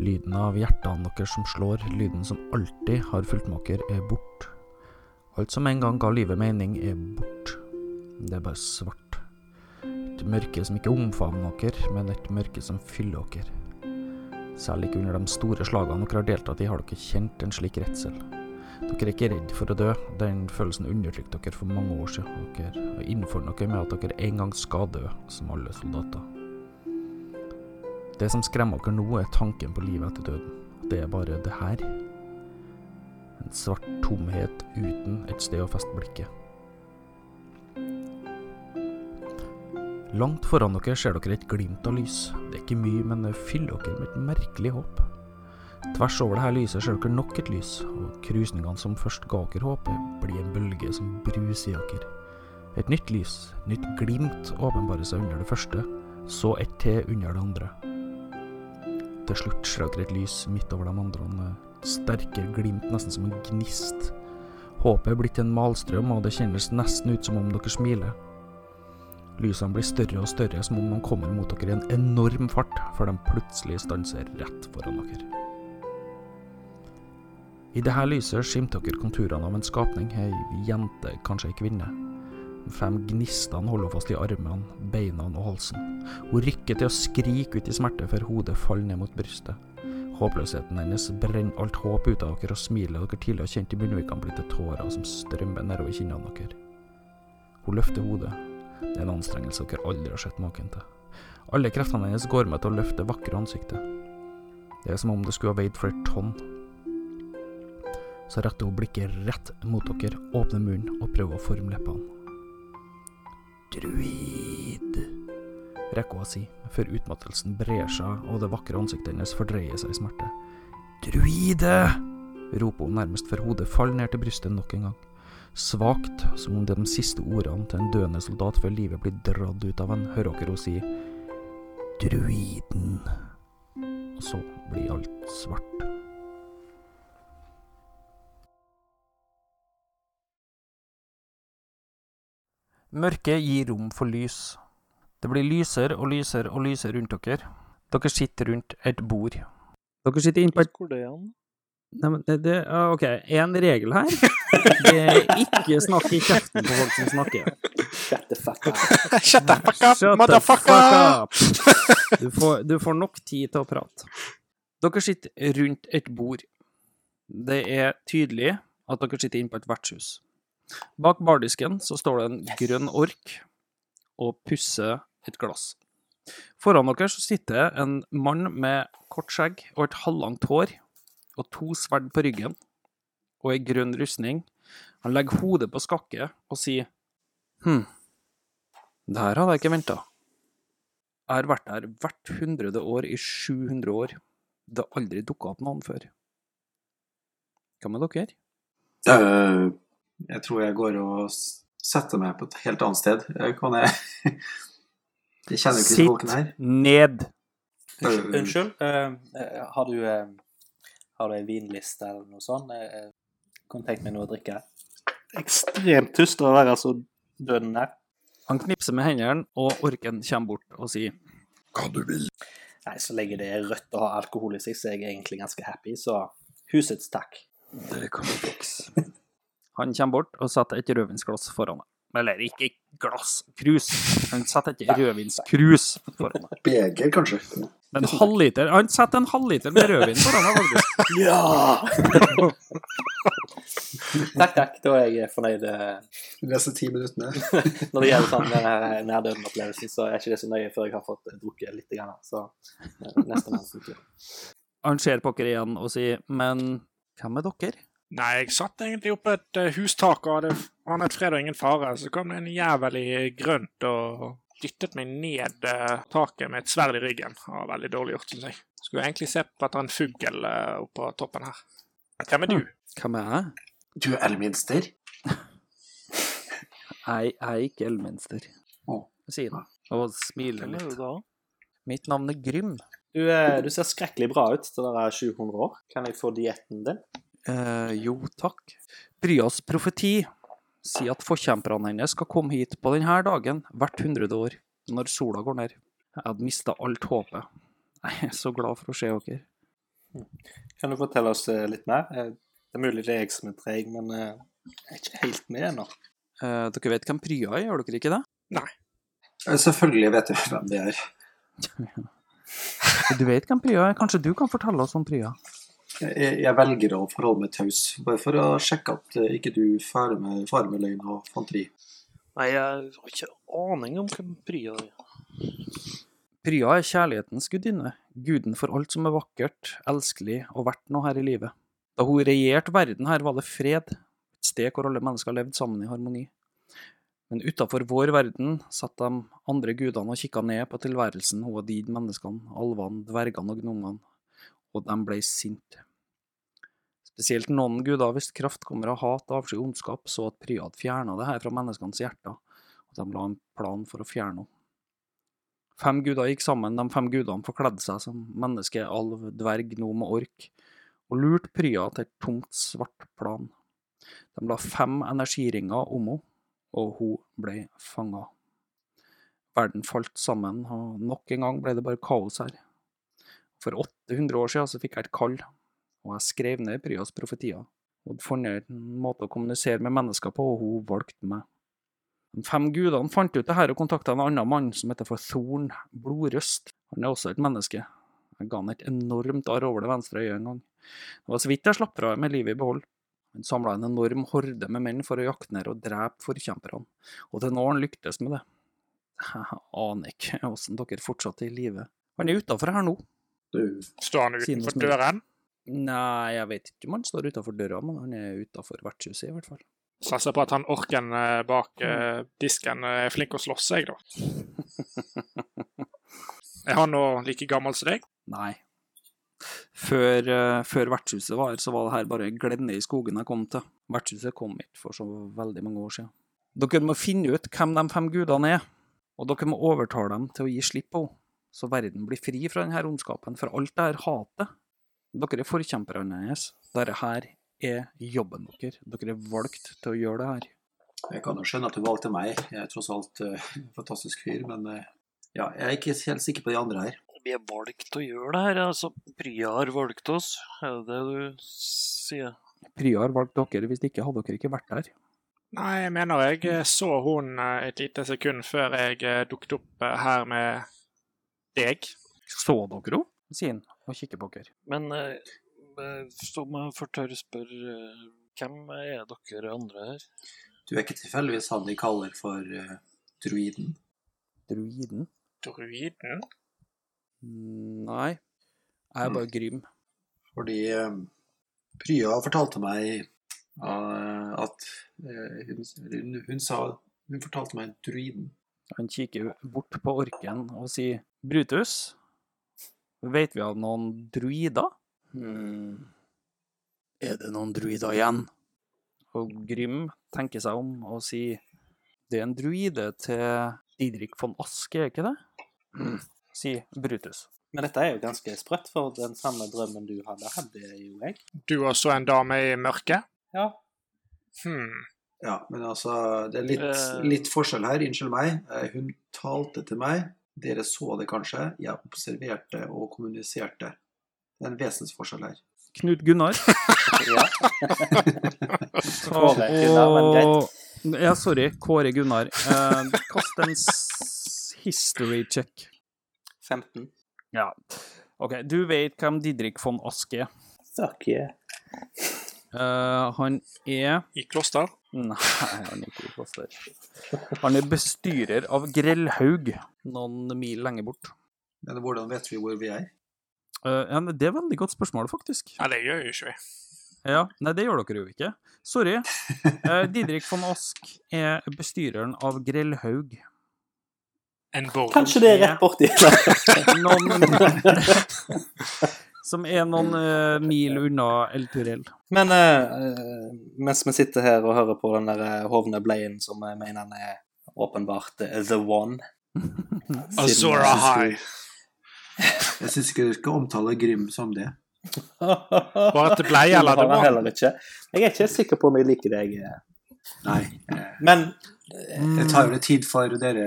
[SPEAKER 7] Lyden av hjertene deres som slår, lyden som alltid har fulltmaker, er bort. Alt som en gang ga livet mening, er bort. Det er bare svart. Et mørke som ikke omfavner dere, men et mørke som fyller dere. Særlig ikke under de store slagene dere har deltatt i, har dere kjent en slik redsel. Dere er ikke redd for å dø, den følelsen undertrykte dere for mange år siden. Dere har innført dere med at dere en gang skal dø, som alle soldater. Det som skremmer dere nå, er tanken på livet etter døden. Det er bare det her. En svart tomhet uten et sted å feste blikket. Langt foran dere ser dere et glimt av lys. Det er ikke mye, men det fyller dere med et merkelig håp. Tvers over det her lyset ser dere nok et lys, og krusningene som først ga dere håpet, blir en bølge som bruser i dere. Et nytt lys, et nytt glimt, åpenbarer seg under det første, så ett til under det andre. Til slutt ser dere et lys midt over de andre sterke glimt, nesten som en gnist. Håpet er blitt en malstrøm, og det kjennes nesten ut som om dere smiler. Lysene blir større og større, som om de kommer mot dere i en enorm fart, før de plutselig stanser rett foran dere. I dette lyset skimter dere konturene av en skapning, ei jente, kanskje ei kvinne. De fem gnistene holder fast i armene, beina og halsen. Hun rykker til å skrike ut i smerte før hodet faller ned mot brystet. Håpløsheten hennes brenner alt håp ut av dere, og smilet dere tidligere har kjent i munnvikene, blir til tårer som strømmer nedover kinnene deres. Hun løfter hodet. Det er en anstrengelse dere aldri har sett maken til. Alle kreftene hennes går med til å løfte vakre ansiktet. Det er som om det skulle ha veid flere tonn. Så retter hun blikket rett mot dere, åpner munnen og prøver å forme leppene. Druid rekker hun å si, før utmattelsen brer seg og det vakre ansiktet hennes fordreier seg i smerte. Druide! roper hun nærmest før hodet faller ned til brystet nok en gang. Svakt, som om det er de siste ordene til en døende soldat før livet blir dratt ut av en, hører dere henne si Druiden. Og så blir alt svart. Mørket gir rom for lys. Det blir lysere og lysere og lysere rundt dere. Dere sitter rundt et bord. Dere sitter inn på et
[SPEAKER 4] Hvor er det igjen?
[SPEAKER 7] Nei, men det, det ah, OK, én regel her. Det er ikke snakk i kjeften på folk som snakker.
[SPEAKER 5] Shut the fuck up.
[SPEAKER 8] Shut the fuck up,
[SPEAKER 7] Shut the fuck
[SPEAKER 8] motherfucker!
[SPEAKER 7] up! Du får, du får nok tid til å prate. Dere sitter rundt et bord. Det er tydelig at dere sitter inne på et vertshus. Bak bardisken så står det en grønn ork og pusser et glass. Foran dere så sitter en mann med kort skjegg og et halvlangt hår og to sverd på ryggen og ei grønn rustning. Han legger hodet på skakke og sier Hm, det her hadde jeg ikke venta. Jeg har vært her hvert hundrede år i 700 år. Det har aldri dukka opp noen før. Hva med dere?
[SPEAKER 2] Øh, Jeg tror jeg går og s- setter meg på et helt annet sted. Jeg kan jeg Jeg kjenner jo ikke disse folkene her.
[SPEAKER 7] ned!
[SPEAKER 2] Øh,
[SPEAKER 5] Unnskyld. eh, eh, har du eh, Har du ei vinliste eller noe sånt? Uh, Kunne tenkt meg noe å drikke. Ekstremt tyst å være så døden her.
[SPEAKER 1] Han knipser med hendene, og orken kommer bort og sier
[SPEAKER 6] Hva du vil.
[SPEAKER 5] Nei, så lenge det er rødt og har alkohol i seg, så er jeg egentlig ganske happy. Så husets takk.
[SPEAKER 6] Det kan vi fikse.
[SPEAKER 1] Han kommer bort og setter et rødvinsglass foran deg. Eller ikke glass, krus. Han setter et rødvinskrus foran deg.
[SPEAKER 2] Beger, kanskje.
[SPEAKER 1] En halvliter. Han setter en halvliter med rødvin foran deg, faktisk.
[SPEAKER 5] Ja! takk, takk. Da er jeg fornøyd. eh,
[SPEAKER 2] De neste ti minuttene.
[SPEAKER 5] Når det gjelder sånn eh, nærdøden-opplevelsen, så er ikke det så nøye før jeg har fått eh, drukket litt. Grann, så eh, neste mann sin tur.
[SPEAKER 1] Han ser på dere igjen og sier, men hvem er dere?
[SPEAKER 3] Nei, jeg satt egentlig oppe et eh, hustak og hadde anet fred og ingen fare. Så kom det en jævel i grønt og dyttet meg ned eh, taket med et sverd i ryggen. Det var veldig dårlig gjort, synes jeg. Skulle egentlig se på at det er en fugl eh, oppå toppen her. Men Hvem er du?
[SPEAKER 1] Hvem er jeg?
[SPEAKER 2] Du er elminster.
[SPEAKER 1] Jeg er ikke elminster,
[SPEAKER 2] Å.
[SPEAKER 1] sier han og smiler
[SPEAKER 4] Hvem er du
[SPEAKER 1] litt.
[SPEAKER 4] da?
[SPEAKER 1] Mitt navn er Grym.
[SPEAKER 5] Du, eh, du ser skrekkelig bra ut til å være 700 år. Kan jeg få dietten din?
[SPEAKER 1] Eh, jo, takk. Bryas profeti sier at forkjemperne hennes skal komme hit på denne dagen hvert hundrede år, når sola går ned. Jeg hadde mista alt håpet. Jeg er så glad for å se dere.
[SPEAKER 5] Kan du fortelle oss eh, litt mer? Eh, Det er mulig det er jeg som er treg, men eh, jeg er ikke helt med ennå.
[SPEAKER 1] Eh, dere vet hvem Prya er, gjør dere ikke det?
[SPEAKER 2] Eh, Selvfølgelig vet du hvem det er.
[SPEAKER 1] Du vet hvem Prya er? Kanskje du kan fortelle oss om Prya?
[SPEAKER 2] Jeg, jeg velger å forholde meg taus, bare for å sjekke at eh, ikke du farer med, farer med løgn og fanteri.
[SPEAKER 4] Nei, jeg har ikke aning om hvem Prya er.
[SPEAKER 1] Prya er kjærlighetens gudinne, guden for alt som er vakkert, elskelig og verdt noe her i livet. Da hun regjerte verden her, var det fred, et sted hvor alle mennesker levde sammen i harmoni. Men utafor vår verden satt de andre gudene og kikka ned på tilværelsen hun og de menneskene, alvene, dvergene og gnomene, og de ble sinte. Spesielt noen guder hvis kraft kommer av hat, avsky og ondskap, så at Prya hadde fjerna det her fra menneskenes hjerter, og de la en plan for å fjerne henne. Fem guder gikk sammen, de fem gudene forkledde seg som menneske, alv, dverg, gnom og ork, og lurte Prya til et tungt, svart plan. De la fem energiringer om henne, og hun ble fanga. Verden falt sammen, og nok en gang ble det bare kaos her. For 800 år siden så fikk jeg et kall, og jeg skrev ned Pryas profetier. Hun hadde funnet en måte å kommunisere med mennesker på, og hun valgte meg. De fem gudene fant ut det her og kontakta en annen mann som heter for Thorn Blodrøst. Han er også et menneske. Jeg ga han et enormt arr over det venstre øyet en gang. Det var så vidt jeg slapp fra med livet i behold. Han samla en enorm horde med menn for å jakte ned og drepe forkjemperne, og til nå har han lyktes med det. Jeg aner ikke åssen dere fortsatt er i live. Han er utafor her nå.
[SPEAKER 2] Du,
[SPEAKER 3] Står han
[SPEAKER 1] Siden
[SPEAKER 3] utenfor
[SPEAKER 1] som er-
[SPEAKER 3] døren?
[SPEAKER 1] Nei, jeg vet ikke om han står utafor døra, men han er utafor vertshuset i hvert fall.
[SPEAKER 3] Satser på at han orken eh, bak eh, disken eh, er flink å slåss, jeg, da. Er han nå like gammel som deg?
[SPEAKER 1] Nei. Før, eh, før vertshuset var her, så var det her bare glenne i skogen jeg kom til. Vertshuset kom ikke for så veldig mange år siden. Dere må finne ut hvem de fem gudene er, og dere må overtale dem til å gi slipp på henne, så verden blir fri fra denne ondskapen, fra alt det her hatet. Dere er forkjemperne hennes. Dette her er jobben deres. Dere er valgt til å gjøre det her.
[SPEAKER 2] jeg kan jo skjønne at du valgte meg. Jeg er tross alt eh, en fantastisk fyr, men eh, ja, jeg er ikke helt sikker på de andre her.
[SPEAKER 4] Vi er valgt å gjøre det her, altså. Prya har valgt oss, er det det du sier?
[SPEAKER 1] Prya har valgt dere, hvis ikke hadde dere ikke vært der.
[SPEAKER 3] Nei, jeg mener jeg eh, så hun eh, et lite sekund før jeg eh, dukket opp eh, her med deg.
[SPEAKER 1] Så dere henne? sier han og kikker på dere.
[SPEAKER 4] Men eh, eh, som jeg får tørre å spørre, eh, hvem er dere andre her?
[SPEAKER 2] Du er ikke tilfeldigvis han de kaller for eh, druiden?
[SPEAKER 1] Druiden?
[SPEAKER 3] Druiden?
[SPEAKER 1] Nei. Jeg er bare grym.
[SPEAKER 2] Fordi eh, Prya fortalte meg eh, at eh, hun, hun, hun sa Hun fortalte meg druiden.
[SPEAKER 1] Han kikker bort på orken og sier Brutus, vet vi av noen druider? Hmm. Er det noen druider igjen? Og Grym tenker seg om og sier Det er en druide til Didrik von Aske, er ikke det? Hmm. Sier Brutus.
[SPEAKER 5] Men dette er jo ganske sprøtt, for den samme drømmen du hadde, hadde jo jeg.
[SPEAKER 3] Du også en dame i mørket?
[SPEAKER 5] Ja.
[SPEAKER 3] Hm.
[SPEAKER 2] Ja, men altså, det er litt,
[SPEAKER 4] Eh.
[SPEAKER 2] litt forskjell her, unnskyld meg. Eh, Hun talte til meg, dere så det kanskje, jeg observerte og kommuniserte. Det er en vesensforskjell her.
[SPEAKER 1] Knut Gunnar.
[SPEAKER 5] Ja. Kåre Gunnar, men greit.
[SPEAKER 1] Ja, sorry. Kåre Gunnar. Eh, kast en s- history check.
[SPEAKER 5] 15.
[SPEAKER 1] Ja. OK, du vet hvem Didrik von Ask er.
[SPEAKER 5] Fuck yeah.
[SPEAKER 1] Eh, han er
[SPEAKER 4] I kloster.
[SPEAKER 1] Nei, han er ikke i Kloster. Han er bestyrer av Grellhaug, noen mil lenger bort.
[SPEAKER 2] Men hvordan vet vi hvor vi er?
[SPEAKER 1] Eh, ja, men det er et veldig godt spørsmål, faktisk.
[SPEAKER 4] Nei, det gjør jo ikke vi.
[SPEAKER 1] Ja, Nei, det gjør dere jo ikke. Sorry. Eh, Didrik von Ask er bestyreren av Grellhaug.
[SPEAKER 4] En borg.
[SPEAKER 5] Kanskje det er rett borti.
[SPEAKER 1] noen, som er noen eh, mil unna El Turell.
[SPEAKER 5] Men eh, mens vi sitter her og hører på den der eh, hovne bleien som jeg mener han er åpenbart eh, the one siden-
[SPEAKER 4] Azora High.
[SPEAKER 2] Jeg syns ikke du skal omtale Grym som det.
[SPEAKER 5] Bare
[SPEAKER 4] at det blei, eller
[SPEAKER 5] Det
[SPEAKER 4] det var-
[SPEAKER 5] var heller ikke. Jeg er ikke sikker på om jeg eh, liker deg.
[SPEAKER 2] Nei.
[SPEAKER 5] Men
[SPEAKER 2] Det tar jo litt tid for dere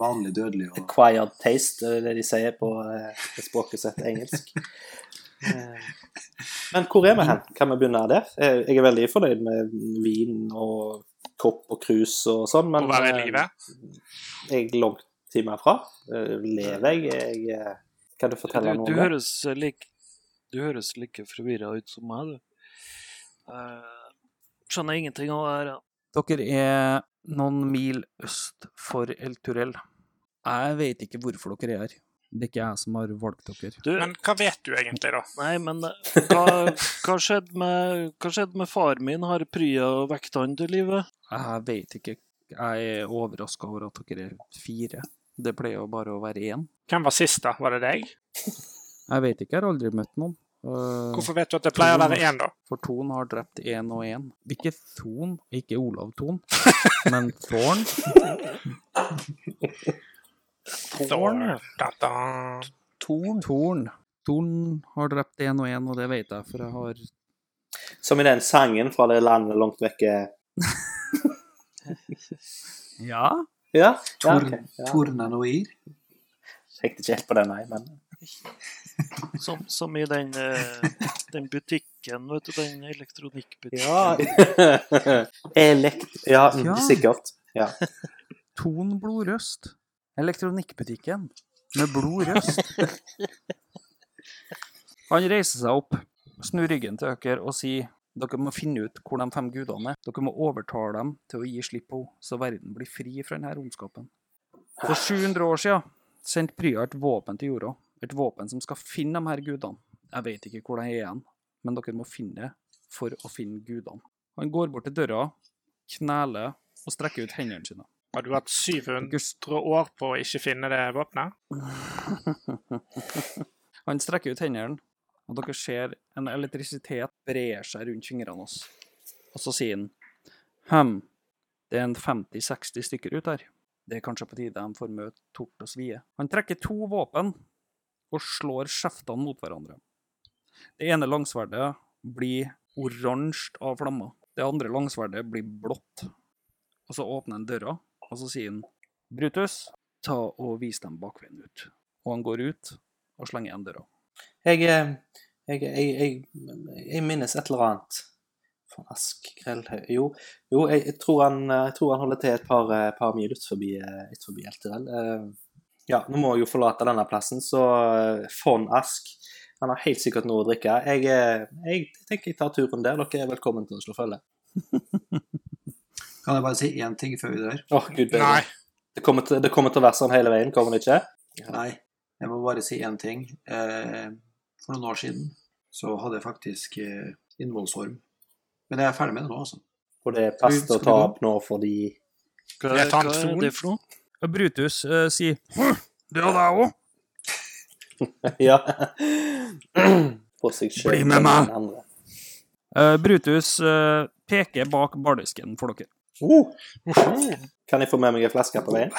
[SPEAKER 2] vanlige dødelige å
[SPEAKER 5] acquired taste, det er det de sier på eh, det språket sitt engelsk. Eh, Men hvor er vi hen? Kan vi begynne der? Eh, Jeg er veldig fornøyd med vin og kopp og krus og sånn,
[SPEAKER 4] Å
[SPEAKER 5] men
[SPEAKER 4] være i
[SPEAKER 5] eh,
[SPEAKER 4] live.
[SPEAKER 5] Jeg er langt time herfra. Eh, Lever jeg? jeg eh, kan du
[SPEAKER 4] Du,
[SPEAKER 5] fortelle noe
[SPEAKER 4] du,
[SPEAKER 5] om det?
[SPEAKER 4] høres like, du høres like forvirra ut som meg, du. Eh, skjønner ingenting av det her. ja.
[SPEAKER 1] Dere er noen mil øst for El Turell. Jeg vet ikke hvorfor dere er her. Det er ikke jeg som har valgt dere.
[SPEAKER 4] Du,
[SPEAKER 3] Men hva vet du egentlig, da?
[SPEAKER 4] nei, men eh, hva, hva, skjedde med, hva skjedde med far min? Har Prya vekt han til live?
[SPEAKER 1] Jeg vet ikke. Jeg er overraska over at dere er fire. Det pleier jo bare å være én.
[SPEAKER 3] Hvem var sist, da? Var det deg?
[SPEAKER 1] Jeg vet ikke, jeg har aldri møtt noen. Eh,
[SPEAKER 3] Hvorfor vet du at det pleier å være én, da?
[SPEAKER 1] For Thon har drept én og én. Ikke Thon, ikke Olav Thon, men Thorn.
[SPEAKER 3] Da, da, da.
[SPEAKER 1] Torn. Torn. har drept én og én, og det vet jeg, for jeg har
[SPEAKER 5] Som i den sangen fra det landet langt eh. vekke
[SPEAKER 1] Ja?
[SPEAKER 5] Ja? ja,
[SPEAKER 2] Torn-
[SPEAKER 5] ok. ja.
[SPEAKER 2] torne noe i.
[SPEAKER 5] Tenkte ikke helt på den, nei, men
[SPEAKER 4] Som, som i den, eh, den butikken, vet du, den elektronikkbutikken.
[SPEAKER 5] Ja Elekt... Ja, mm,
[SPEAKER 1] Ja.
[SPEAKER 5] sikkert. Ja.
[SPEAKER 1] Torn blodrøst. Elektronikkbutikken med blodrøst. Han reiser seg opp, snur ryggen til dere og sier dere må finne ut hvor de fem gudene er. Dere må overtale dem til å gi slipp på henne, så verden blir fri fra denne ondskapen. For 700 år siden sendte Prya et våpen til jorda. Et våpen som skal finne de her gudene. Jeg vet ikke hvor de er igjen, men dere må finne det for å finne gudene. Han går bort til døra, kneler og strekker ut hendene sine.
[SPEAKER 3] Har du hatt 700
[SPEAKER 1] Dere
[SPEAKER 3] år på å ikke finne det våpenet?
[SPEAKER 1] Han strekker ut hendene, og dere ser en elektrisitet brer seg rundt fingrene hans. Og så sier han Hm, det er en 50-60 stykker ut her. Det er kanskje på tide de får møte tort og svie. Han trekker to våpen og slår skjeftene mot hverandre. Det ene langsverdet blir oransje av flammer. Det andre langsverdet blir blått. Og så åpner han døra, og så sier han Brutus, ta og vis dem bakveien ut. Og han går ut og slenger igjen døra.
[SPEAKER 5] Jeg, eh, jeg, jeg, jeg, jeg minnes et eller annet. Faen, Ask Grellhaug Jo, jo jeg, jeg, tror han, eh, jeg tror han holder til et par, eh, par mil ut forbi, eh, ut forbi Elterell. Eh, Ja, nå må jeg jo forlate denne plassen, så eh, von Ask han har helt sikkert noe å drikke. Jeg, eh, jeg tenker jeg tar turen der. Dere er velkommen til å slå følge.
[SPEAKER 2] Kan jeg bare si én ting før vi drar?
[SPEAKER 5] Åh, gud bedre.
[SPEAKER 3] Nei.
[SPEAKER 5] Det kommer, til, det kommer til å være sånn hele veien, kommer det ikke?
[SPEAKER 2] Nei, jeg må bare si én ting. Eh, for noen år siden så hadde jeg faktisk eh, innvollsorm. Men jeg er ferdig med det nå, altså.
[SPEAKER 5] Og det passer til å ta
[SPEAKER 2] Skal vi gå?
[SPEAKER 5] opp nå fordi
[SPEAKER 4] Hva,
[SPEAKER 3] Det er
[SPEAKER 4] hva
[SPEAKER 3] tann
[SPEAKER 4] er det for noe?
[SPEAKER 1] Brutus eh, sier «Hm, Det hadde jeg òg.
[SPEAKER 5] Ja. På seg selv
[SPEAKER 1] Bli med
[SPEAKER 5] og
[SPEAKER 1] meg.
[SPEAKER 5] den andre.
[SPEAKER 1] Brutus eh, peker bak bardisken for dere.
[SPEAKER 5] Uh. Kan jeg få med meg en flaske på veien?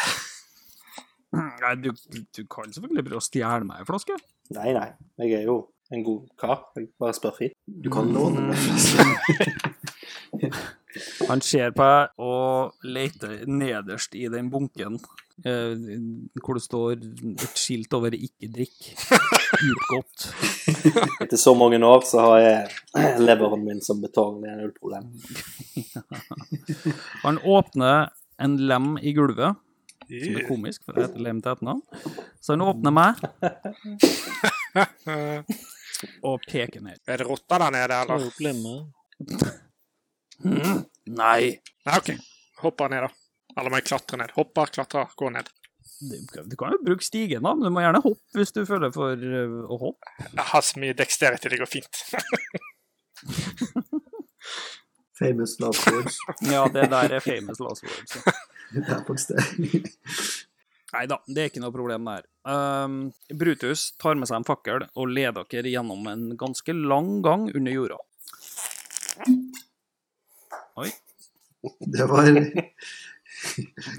[SPEAKER 1] Nei, du, du kan selvfølgelig prøve å stjele meg en flaske.
[SPEAKER 5] Nei, nei. Jeg er jo en
[SPEAKER 2] Mm.
[SPEAKER 5] god kar. Jeg bare spør fint.
[SPEAKER 2] Du kan låne meg.
[SPEAKER 1] Han ser på deg og leter nederst i den bunken eh, hvor det står et skilt over 'ikke drikk'. Utgått.
[SPEAKER 5] Etter så mange år så har jeg leveren min som betong. Det er null problem.
[SPEAKER 1] Han åpner en lem i gulvet, som er
[SPEAKER 4] Yeah.
[SPEAKER 1] komisk, for det heter lem til etternavn. Så han åpner meg
[SPEAKER 3] Eh,
[SPEAKER 1] og peker ned.
[SPEAKER 3] Er det rotter der nede, eller?
[SPEAKER 4] Bare glemme.
[SPEAKER 1] Mm, nei.
[SPEAKER 3] Nei, OK. Hopper ned, da. Eller må jeg klatre ned? Hopper, klatrer, går ned.
[SPEAKER 1] Du kan- du kan jo bruke stigen, da, men du må gjerne hoppe hvis du føler for eh, å hoppe.
[SPEAKER 3] Jeg har så mye dexterity, det går fint.
[SPEAKER 2] Famous last words.
[SPEAKER 1] Ja, det der er famous last words. ja.
[SPEAKER 2] Det er faktisk det.
[SPEAKER 1] Nei da, det er ikke noe problem der. Ehm, Brutus tar med seg en fakkel og leder dere gjennom en ganske lang gang under jorda.
[SPEAKER 2] Det var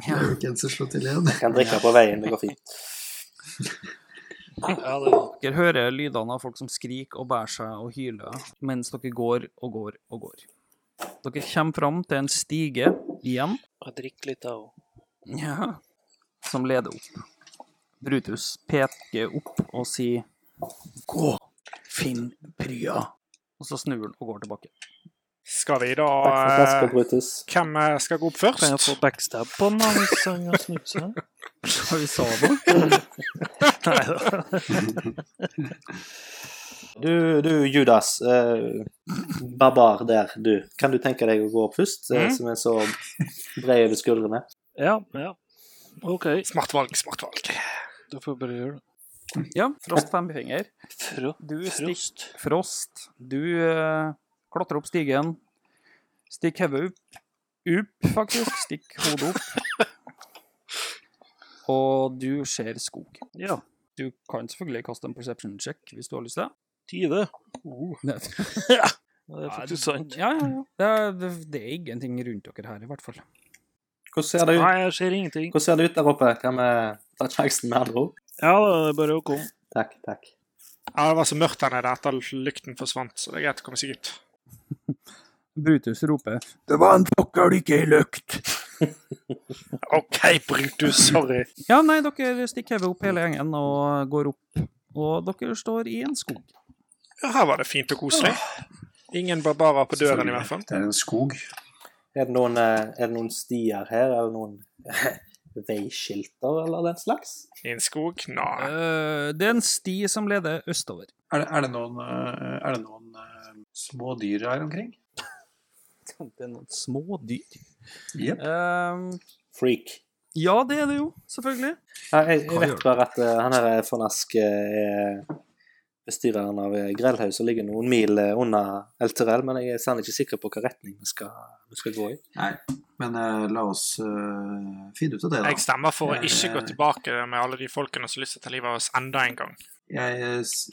[SPEAKER 2] Larrican som slo til igjen.
[SPEAKER 5] Jeg kan drikke på veien, det går fint.
[SPEAKER 4] Ja, det
[SPEAKER 1] Dere hører lydene av folk som skriker og bærer seg og hyler mens dere går og går og går. Dere kommer fram til en stige igjen,
[SPEAKER 4] Jeg drikker litt, jeg òg.
[SPEAKER 1] ja, som leder opp. Brutus peker opp og sier Gå, finn Prya. Og så snur han og går tilbake.
[SPEAKER 3] Skal vi da
[SPEAKER 5] Takk for flaska,
[SPEAKER 3] eh,
[SPEAKER 5] Brutus.
[SPEAKER 3] Hvem eh, skal gå opp
[SPEAKER 4] Kan jeg
[SPEAKER 3] først?
[SPEAKER 4] få backstab på den da, hvis han har snudd seg?
[SPEAKER 1] Hva vi sa nå?
[SPEAKER 4] Nei da.
[SPEAKER 5] Du, du Judas, eh, barbar der, du. Kan du tenke deg å gå opp først, eh,
[SPEAKER 3] Mm.
[SPEAKER 5] som er så bred over skuldrene?
[SPEAKER 4] Ja, ja. OK.
[SPEAKER 3] Smart valg, smart valg.
[SPEAKER 4] Da får jeg bare gjøre det.
[SPEAKER 1] Ja, Frost femfinger.
[SPEAKER 4] Fra,
[SPEAKER 1] Du stikker
[SPEAKER 4] frost.
[SPEAKER 1] Frost. Du eh, klatrer opp stigen. Stikk hodet opp. Opp, faktisk. Stikk hodet opp. Og du ser skog.
[SPEAKER 4] Ja.
[SPEAKER 1] Du kan selvfølgelig kaste en perception check hvis du har lyst til det.
[SPEAKER 4] 20.
[SPEAKER 1] Det,
[SPEAKER 4] Oh. Det er faktisk sant.
[SPEAKER 1] Ja, ja, ja. Det, er- det, det er ingenting rundt dere her, i hvert fall.
[SPEAKER 5] Hvordan ser det ut,
[SPEAKER 4] Nei, jeg ser ingenting.
[SPEAKER 5] Hvordan ser det ut der oppe? Kan vi ta sjansen med andre ord?
[SPEAKER 4] Ja, da er det bare å komme.
[SPEAKER 5] Takk, takk.
[SPEAKER 3] Ja, det var så mørkt her nede etter lykten forsvant, så det er greit å komme seg ut.
[SPEAKER 1] Brutus roper
[SPEAKER 6] Det var en pokker ikke ei løkt.
[SPEAKER 3] OK, Brutus, sorry.
[SPEAKER 1] Ja, nei, dere stikker hodet opp hele gjengen og går opp. Og dere står i en skog.
[SPEAKER 3] Ja, her var det fint og koselig. Ingen barbarer på døren, i hvert fall.
[SPEAKER 2] Det er en skog.
[SPEAKER 5] Er det noen, eh, er det noen stier her, eller noen veiskilter eller den slags?
[SPEAKER 3] I en skog? Nei.
[SPEAKER 1] Eh, det er en sti som leder østover.
[SPEAKER 2] Er det, er det noen, eh, er det noen eh, smådyr her omkring?
[SPEAKER 1] Det er noen små dyr.
[SPEAKER 2] Jepp.
[SPEAKER 1] Ehm,
[SPEAKER 5] Freak.
[SPEAKER 1] ja, det er det jo, selvfølgelig.
[SPEAKER 5] Ja, jeg, jeg
[SPEAKER 1] Hva gjør
[SPEAKER 5] vet bare at eh, han her von Ask eh, er bestyreren av eh, Grellhaug, som ligger noen mil eh, unna Elterell, men jeg er sannelig ikke sikker på hva retning vi skal, vi skal gå i.
[SPEAKER 2] Nei, men eh, la oss eh, finne ut av det, da.
[SPEAKER 3] Jeg stemmer for å ikke gå tilbake med alle de folkene som har lyst til å ta livet av oss enda en gang.
[SPEAKER 2] Jeg eh, s-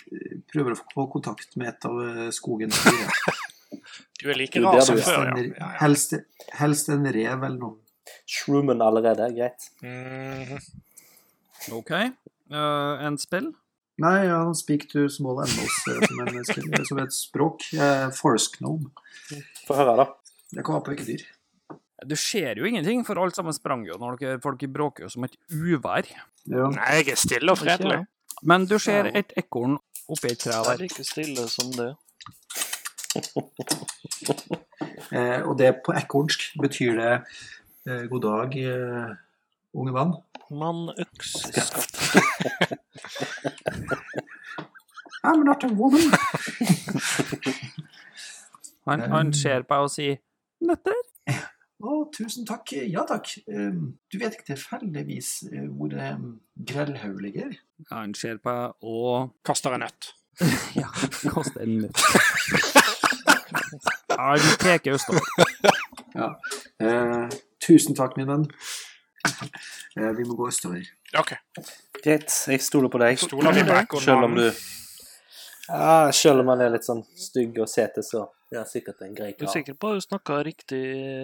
[SPEAKER 2] prøver å få kontakt med et av eh, skogens dyr.
[SPEAKER 3] Du er like
[SPEAKER 5] Jo,
[SPEAKER 3] rar
[SPEAKER 5] det
[SPEAKER 3] som
[SPEAKER 5] hadde
[SPEAKER 3] før, ja.
[SPEAKER 2] En-
[SPEAKER 3] ja, ja.
[SPEAKER 2] Helst, helst en rev eller noe.
[SPEAKER 5] Shroomen allerede, greit.
[SPEAKER 3] Mhm.
[SPEAKER 1] OK. Eh, en spill?
[SPEAKER 2] Nei, ja, speak to small animals eh, som, en, sk- som et språk. Eh, forest gnome.
[SPEAKER 5] Få høre, da.
[SPEAKER 2] Det kan være på hvilket dyr.
[SPEAKER 1] Du ser jo ingenting, for alt sammen sprang jo når dere folk bråker jo som et uvær.
[SPEAKER 2] Ja.
[SPEAKER 3] Nei, jeg er stille og fredelig.
[SPEAKER 1] Men du ser et ekorn oppi et tre
[SPEAKER 4] Det er
[SPEAKER 1] der.
[SPEAKER 4] like stille som det.
[SPEAKER 2] Eh, og det på ekornsk betyr det eh, god dag, eh, unge mann.
[SPEAKER 4] Men økseskaft
[SPEAKER 2] I'm not a woman.
[SPEAKER 1] Han, han ser på deg og sier 'Nøtter'.
[SPEAKER 2] Å, tusen takk. Ja takk. Ehm, du vet ikke tilfeldigvis eh, hvor um, Grellhaug ligger?
[SPEAKER 1] Han ser på deg og
[SPEAKER 3] Kaster en nøtt.
[SPEAKER 1] Ja, kaster en nøtt. Han peker østover.
[SPEAKER 2] Eh, tusen takk, min venn. Eh, vi må gå østover.
[SPEAKER 3] OK.
[SPEAKER 5] Greit, jeg stoler på deg.
[SPEAKER 3] Stoler vi på ekornmannen?
[SPEAKER 5] Selv om du ja, Selv om han er litt sånn stygg og sete, så er han sikkert en grei
[SPEAKER 4] Du er
[SPEAKER 5] kar.
[SPEAKER 4] sikker på at du snakka riktig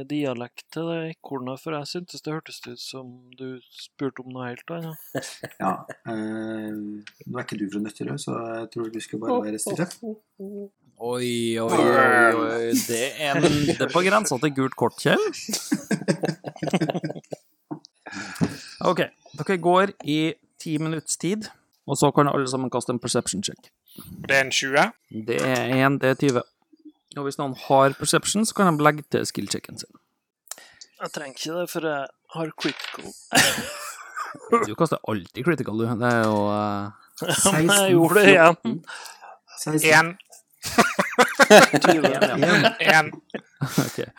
[SPEAKER 4] dialekt til det ekornet, for jeg syntes det hørtes ut som du spurte om noe helt annet.
[SPEAKER 2] Ja. eh, nå er ikke du fra Nøtterøy, så jeg tror vi skal bare være stille.
[SPEAKER 1] Oi, oi, oi, oi. Det er en, det er på grensa til gult kort, Kjell. OK. Dere går i ti minutts tid, og så kan alle sammen kaste en perception check.
[SPEAKER 3] Det er en 20.
[SPEAKER 1] Det er 1, det er 20. Og hvis noen har perception, så kan de legge til skill-checken sin.
[SPEAKER 4] Jeg trenger ikke det, for jeg har critical.
[SPEAKER 1] Du kaster alltid critical, du. Det er jo eh,
[SPEAKER 4] Men jeg gjorde det igjen.
[SPEAKER 2] 16.
[SPEAKER 3] 1,
[SPEAKER 4] 20.
[SPEAKER 3] 1.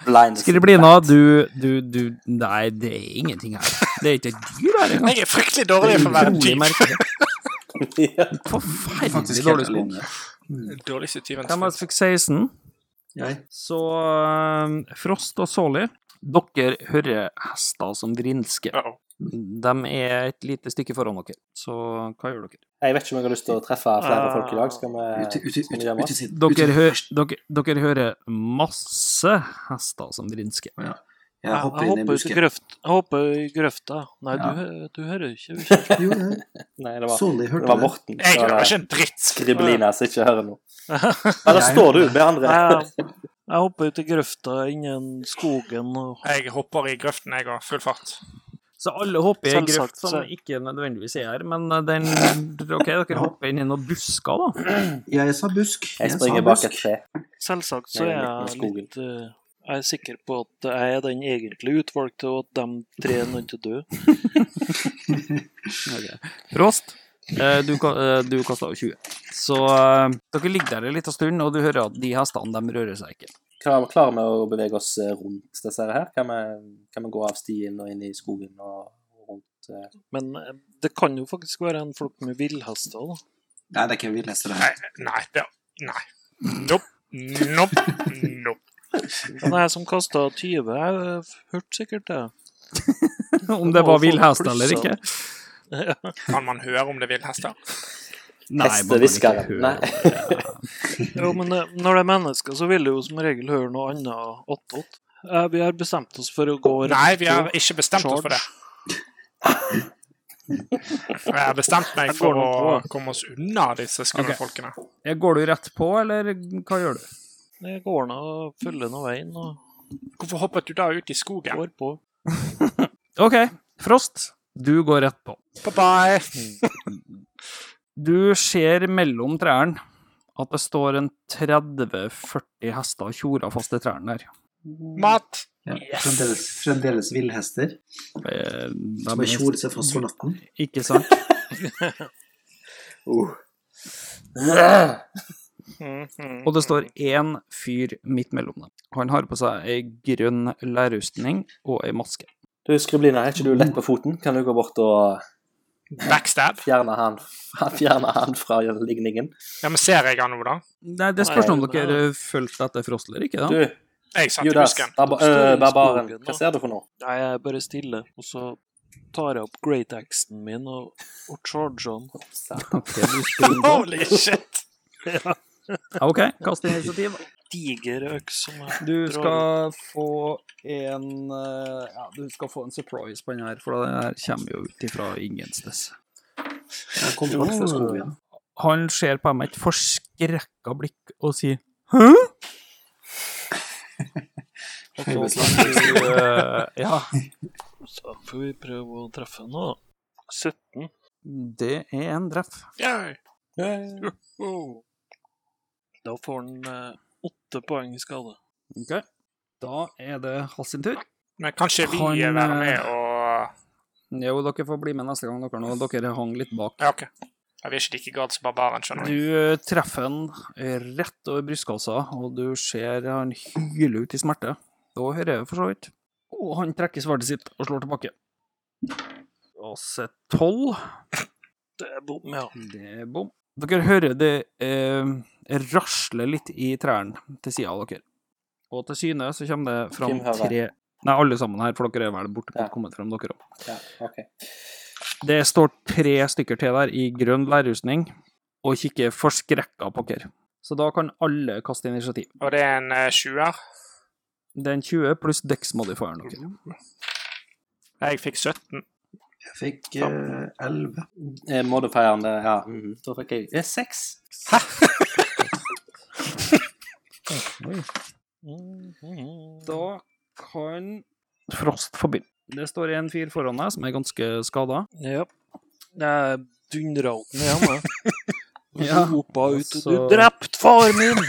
[SPEAKER 5] Blind.
[SPEAKER 1] Skriblina, du, du, du Nei, det er ingenting her. Det er ikke et dyr her engang.
[SPEAKER 3] Jeg er fryktelig dårlig for å være en
[SPEAKER 1] Utrolig
[SPEAKER 3] tyv.
[SPEAKER 1] merkelig.
[SPEAKER 5] Ja.
[SPEAKER 1] Forferdelig
[SPEAKER 2] Faktisk
[SPEAKER 1] dårlig
[SPEAKER 2] helt
[SPEAKER 1] skog.
[SPEAKER 2] alene.
[SPEAKER 3] Dårligste tyven.
[SPEAKER 1] De fikk 16,
[SPEAKER 2] Jeg
[SPEAKER 1] så eh, Frost og Solly Dere hører hester som vrinsker.
[SPEAKER 3] Uh-oh.
[SPEAKER 1] De er et lite stykke foran dere, så hva gjør dere?
[SPEAKER 5] Jeg vet ikke om jeg har lyst til å treffe flere folk i dag. Skal vi
[SPEAKER 2] Ute, ute, ute,
[SPEAKER 5] Eh, skal vi gjøre
[SPEAKER 2] ute,
[SPEAKER 5] oss?
[SPEAKER 2] siden.
[SPEAKER 1] Dere,
[SPEAKER 2] Ute.
[SPEAKER 1] hø dere, dere hører masse hester som vrinsker.
[SPEAKER 2] Jeg hopper
[SPEAKER 4] jeg
[SPEAKER 2] inn i
[SPEAKER 4] hopper ut i
[SPEAKER 2] busken.
[SPEAKER 4] grøft. Jeg hopper i grøfta. Nei,
[SPEAKER 2] Ja.
[SPEAKER 4] du, hø- du hører ikke. vi kjører.
[SPEAKER 2] Jo, jeg-
[SPEAKER 5] Nei, det var,
[SPEAKER 2] Solly
[SPEAKER 5] det
[SPEAKER 2] hørte
[SPEAKER 5] var
[SPEAKER 2] det.
[SPEAKER 3] Jeg
[SPEAKER 5] Morten. Det var
[SPEAKER 3] hører ikke en dritt.
[SPEAKER 5] Skriblina som ikke hører noe. Eller står du med andre?
[SPEAKER 4] Jeg, jeg hopper ut i grøfta innen skogen og
[SPEAKER 3] Jeg hopper i grøften, jeg òg. Full fart.
[SPEAKER 1] Så alle hopper i en
[SPEAKER 4] Selvsagt,
[SPEAKER 1] grøft som
[SPEAKER 4] så-
[SPEAKER 1] ikke nødvendigvis er her, men eh, den OK, dere hopper inn i noen busker, da.
[SPEAKER 2] Jeg sa busk.
[SPEAKER 5] Jeg
[SPEAKER 2] sa
[SPEAKER 5] springer bak
[SPEAKER 2] busk.
[SPEAKER 5] et tre.
[SPEAKER 4] Selvsagt så
[SPEAKER 5] Nei,
[SPEAKER 4] er
[SPEAKER 5] midt i
[SPEAKER 4] jeg
[SPEAKER 5] skogen.
[SPEAKER 4] litt eh, Jeg er sikker på at jeg er den egentlig utvalgte, og at de tre er nødt til å dø.
[SPEAKER 1] Frost, eh, du, ka- eh, du kasta jo 20. Så eh, dere ligger der en liten stund, og du hører at de hestene de rører seg ikke.
[SPEAKER 5] Klarer klarer vi å bevege oss eh, rundt disse her? Kan vi, kan vi gå av stien og inn i skogen og rundt eh,
[SPEAKER 4] Men eh, det kan jo faktisk være en flokk med villhester, da.
[SPEAKER 2] Nei, det er ikke en villhest. det
[SPEAKER 3] Nei,
[SPEAKER 2] her.
[SPEAKER 3] nei. Det, nei. Nope. Nope. Nope.
[SPEAKER 4] Men jeg som kasta 20, jeg eh, hørte sikkert det.
[SPEAKER 1] Om det var sånn vill hest eller ikke.
[SPEAKER 3] Kan man høre om det vil hester?
[SPEAKER 1] Nei, man kan ikke
[SPEAKER 5] hestehviskeren?
[SPEAKER 1] høre.
[SPEAKER 5] Nei.
[SPEAKER 4] Jo, men eh, når det er mennesker, så vil de jo som regel høre noe annet attåt. Eh, Vi har bestemt oss for å gå
[SPEAKER 3] Nei, vi har ikke bestemt oss for det. Jeg har bestemt meg for å komme oss unna disse skumle
[SPEAKER 1] Ok.
[SPEAKER 3] folkene.
[SPEAKER 1] Eh, Går du rett på, eller hva gjør du?
[SPEAKER 4] Jeg går nå og følger nå veien og
[SPEAKER 3] Hvorfor hoppet du da ut i skogen?
[SPEAKER 4] går på.
[SPEAKER 1] OK, Frost, du går rett på.
[SPEAKER 3] Bye-bye!
[SPEAKER 1] Du ser mellom trærne at det står en 30-40 hester og tjorer fast i trærne der.
[SPEAKER 3] Mat!
[SPEAKER 2] Ja, fremdeles, fremdeles villhester.
[SPEAKER 1] Eh,
[SPEAKER 2] Som
[SPEAKER 1] De
[SPEAKER 2] har tjoret seg fast for natten.
[SPEAKER 1] Ikke sant?
[SPEAKER 5] Uh.
[SPEAKER 1] Og det står én fyr midt mellom dem. Han har på seg ei grønn lærrustning og ei maske.
[SPEAKER 5] Du, Skriblina, er ikke du lett på foten? Kan du gå bort og
[SPEAKER 3] Backstab.
[SPEAKER 5] fjerne han, fjerne han fra ligningen?
[SPEAKER 3] Ja, men ser jeg han nå, da?
[SPEAKER 1] Nei, det spørs om
[SPEAKER 4] Nei, nei.
[SPEAKER 1] dere fulgte etter Frost eller ikke,
[SPEAKER 5] Du,
[SPEAKER 1] da.
[SPEAKER 3] Jeg satt i
[SPEAKER 5] Judas,
[SPEAKER 3] busken.
[SPEAKER 5] barba- øh, barbaren, hva ser du for noe?
[SPEAKER 4] Nei, jeg er bare stille, og så tar jeg opp great axen min og, og charger han.
[SPEAKER 1] Ok, du springer på.
[SPEAKER 3] Holy shit!
[SPEAKER 1] Ja, OK, kast initiativ.
[SPEAKER 4] Diger øks som jeg
[SPEAKER 1] Du
[SPEAKER 4] drar opp.
[SPEAKER 1] skal få en eh, Ja, du skal få en surprise på den her, for den her kommer jo ut ifra ingensteds.
[SPEAKER 2] Jeg kommer bort fra skogen igjen.
[SPEAKER 1] Han ser på meg med et forskrekka blikk og sier Hæ? Og så kan sånn du, eh, Ja,
[SPEAKER 4] Så får vi prøve å treffe nå. 17.
[SPEAKER 1] det er en treff.
[SPEAKER 3] Yay.
[SPEAKER 4] Uhuh. Da får han eh, åtte poeng i skade.
[SPEAKER 1] Ok. Da er det hans sin tur.
[SPEAKER 3] Men kan ikke vi
[SPEAKER 1] Han, eh,
[SPEAKER 3] være med og
[SPEAKER 1] Jo, dere får bli med neste gang dere nå. Dere hang litt bak.
[SPEAKER 3] Ja, OK. Ja, vi er ikke like galt som barbaren, skjønner du.
[SPEAKER 1] Du eh, treffer han rett over brystkassa, og du ser han hyler ut i smerte. Da hører jeg for så vidt. Og han trekker sverdet sitt og slår tilbake. Og så tolv.
[SPEAKER 4] Det er bom, ja.
[SPEAKER 1] Det er bom. Dere hører det eh, rasle litt i trærne til sida av dere. Og til syne så kommer det fram
[SPEAKER 5] Hvem hører?
[SPEAKER 1] tre Nei, alle sammen her, for dere er vel borte
[SPEAKER 5] Ja.
[SPEAKER 1] kommet fram, dere òg.
[SPEAKER 5] Ja, ok.
[SPEAKER 1] Det står tre stykker til der i grønn lærrustning og kikker forskrekka på dere. Så da kan alle kaste initiativ.
[SPEAKER 3] Og det er en eh, sjuer.
[SPEAKER 1] Det er en 20 pluss dex-modifieren dere.
[SPEAKER 3] Jeg fikk 17.
[SPEAKER 2] Jeg fikk eh, 11.
[SPEAKER 5] Eh, Mhm. Modifieren, det, ja. mhm. Da fikk jeg eh, seks.
[SPEAKER 1] Da kan Frost få begynne. Det står en fyr foran deg som er ganske skada.
[SPEAKER 4] Ja. Jeg dundra opp ned hjemme.
[SPEAKER 1] Ja.
[SPEAKER 4] Ropa ut
[SPEAKER 1] Og så-
[SPEAKER 4] 'Du drepte far min!'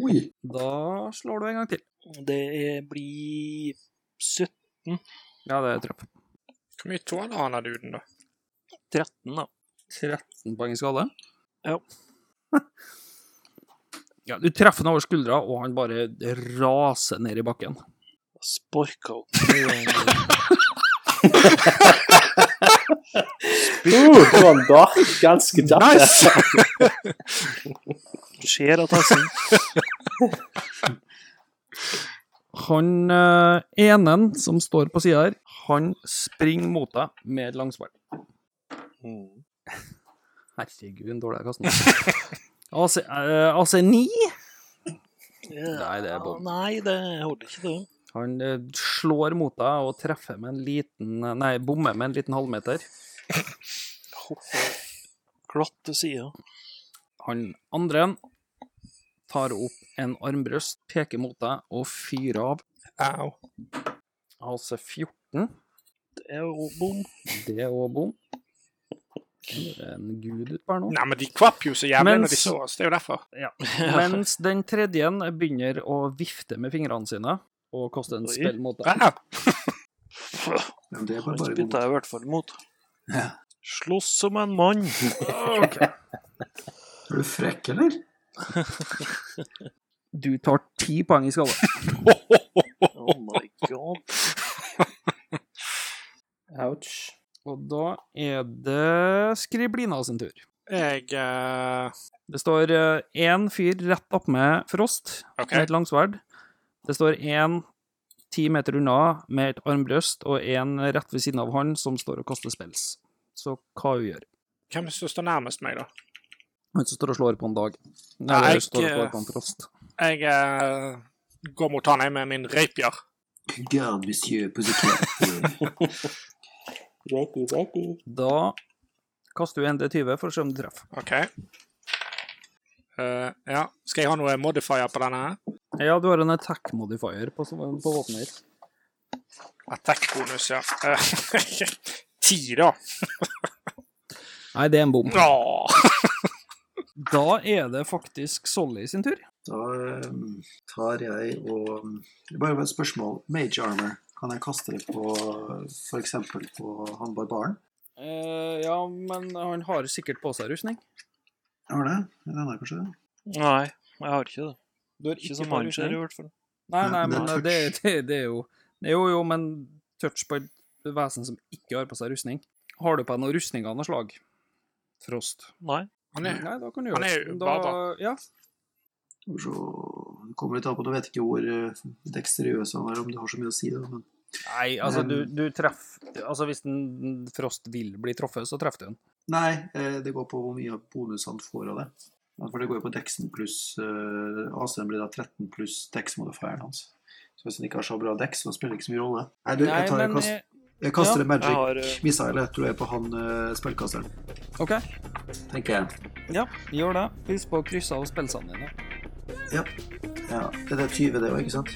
[SPEAKER 2] Oi!
[SPEAKER 1] Da slår du en gang til.
[SPEAKER 4] Det er- blir 17,
[SPEAKER 1] Ja, det er treff.
[SPEAKER 3] Hvor mye tåler han av duden, da?
[SPEAKER 4] 13, da.
[SPEAKER 1] 13 poeng i skade.
[SPEAKER 4] Ja.
[SPEAKER 1] ja, du treffer han over skuldra, og han bare raser ned i bakken.
[SPEAKER 4] Sparka opp.
[SPEAKER 5] Sånn da, ganske kjapt.
[SPEAKER 4] Ser at jeg sier
[SPEAKER 1] Han eh, enen som står på sida her, han springer mot deg med et langspark.
[SPEAKER 3] Mm.
[SPEAKER 1] Herregud, en dårlig kast. AC, eh, AC9 Nei, det er bom.
[SPEAKER 4] Nei, det holder ikke, det.
[SPEAKER 1] Han eh, slår mot deg og treffer med en liten Nei, bommer med en liten halvmeter.
[SPEAKER 4] Hopper glatt til sida.
[SPEAKER 1] Han andre tar opp en armbrøst, peker mot deg og fyrer av.
[SPEAKER 3] Au.
[SPEAKER 1] AC14.
[SPEAKER 4] Det er jo bom.
[SPEAKER 1] Det er òg bom. Det er en gud ut per nå.
[SPEAKER 3] Nei, men de kvapp jo så jævlig
[SPEAKER 1] Mens-
[SPEAKER 3] når de så oss. Det er jo derfor.
[SPEAKER 1] Mens den tredje begynner å vifte med fingrene sine og kaste en
[SPEAKER 4] Oi.
[SPEAKER 1] spill mot deg.
[SPEAKER 3] Au.
[SPEAKER 2] Ja, men det er
[SPEAKER 4] Han
[SPEAKER 2] bare bare
[SPEAKER 4] spytta
[SPEAKER 2] god.
[SPEAKER 4] jeg i hvert fall mot.
[SPEAKER 2] Ja.
[SPEAKER 4] Slåss som en mann.
[SPEAKER 2] Er du frekk, eller?
[SPEAKER 1] Du tar ti poeng i skade.
[SPEAKER 4] Oh my god.
[SPEAKER 5] Ouch.
[SPEAKER 1] Og da er det Skriblina sin tur.
[SPEAKER 3] Jeg eh,
[SPEAKER 1] Det står én fyr rett oppmed Frost
[SPEAKER 3] OK.
[SPEAKER 1] med et langsverd. Det står én ti meter unna med et armbrøst, og én rett ved siden av han som står og kaster spels. Så hva hun gjør
[SPEAKER 3] Hvem er det som står nærmest meg, da?
[SPEAKER 1] Han som står og slår på en dag. Nei,
[SPEAKER 3] Nei,
[SPEAKER 1] jeg står og
[SPEAKER 3] ikke-
[SPEAKER 1] slår på en Frost.
[SPEAKER 3] Jeg eh, går mot han jeg med min rapier.
[SPEAKER 2] Garde monsieur Positif.
[SPEAKER 5] Ready, ready.
[SPEAKER 1] Da kaster du en D20 for å se om du treffer.
[SPEAKER 3] OK. Eh, ja. Skal jeg ha noe modifier på denne? her?
[SPEAKER 1] Ja, du har en attack modifier på, på våpenet ditt.
[SPEAKER 3] Attack-bonus, ja. Eh, Ti, da.
[SPEAKER 1] Nei, det er en bom.
[SPEAKER 3] Åh.
[SPEAKER 1] Da er det faktisk Solly sin tur.
[SPEAKER 2] Da eh, tar jeg og mm, Det er bare et spørsmål. Mage armor, kan jeg kaste det på f.eks. på han barbaren?
[SPEAKER 1] Eh, ja, men han har sikkert på seg rustning.
[SPEAKER 2] Har det? Den er kanskje det?
[SPEAKER 4] Nei, jeg har ikke det.
[SPEAKER 1] Du har
[SPEAKER 4] Ikke som han ser, i hvert fall.
[SPEAKER 1] Nei, nei,
[SPEAKER 2] Nei,
[SPEAKER 1] men eh,
[SPEAKER 2] det er
[SPEAKER 1] det, det, det er jo Jo, jo, men touch på et vesen som ikke har på seg rustning. Har du på deg noen rustning av noe slag? Frost.
[SPEAKER 4] Nei.
[SPEAKER 3] Han er
[SPEAKER 1] Nei, da kan du
[SPEAKER 3] Han
[SPEAKER 1] gjøre
[SPEAKER 3] er jo
[SPEAKER 1] Da-
[SPEAKER 3] barbar.
[SPEAKER 1] Ja.
[SPEAKER 2] Skal vi se. Det kommer litt an på, du vet ikke hvor eh, deksteriøs han er, om det har så mye å si. Da, men
[SPEAKER 1] Nei, altså, du, du treffer Altså, hvis en Frost vil bli truffet, så treffer du den.
[SPEAKER 2] Nei, eh, det går på hvor mye bonus han får av det. Ja, For det går jo på deksen pluss eh, AC-en blir da 13 pluss deksmodifieren hans. Så hvis han ikke har så bra deks, så spiller det ikke så mye rolle. Nei, du, jeg, tar, jeg, kast,
[SPEAKER 1] eh,
[SPEAKER 2] jeg
[SPEAKER 1] ja.
[SPEAKER 2] kaster en magic
[SPEAKER 4] Jeg har, eh,
[SPEAKER 2] missile, tror jeg, på han eh, spillkasteren,
[SPEAKER 1] OK.
[SPEAKER 2] tenker jeg.
[SPEAKER 1] Ja, gjør det. Husk på å krysse av spillsene dine.
[SPEAKER 2] Ja, det er 20 det òg, ikke sant?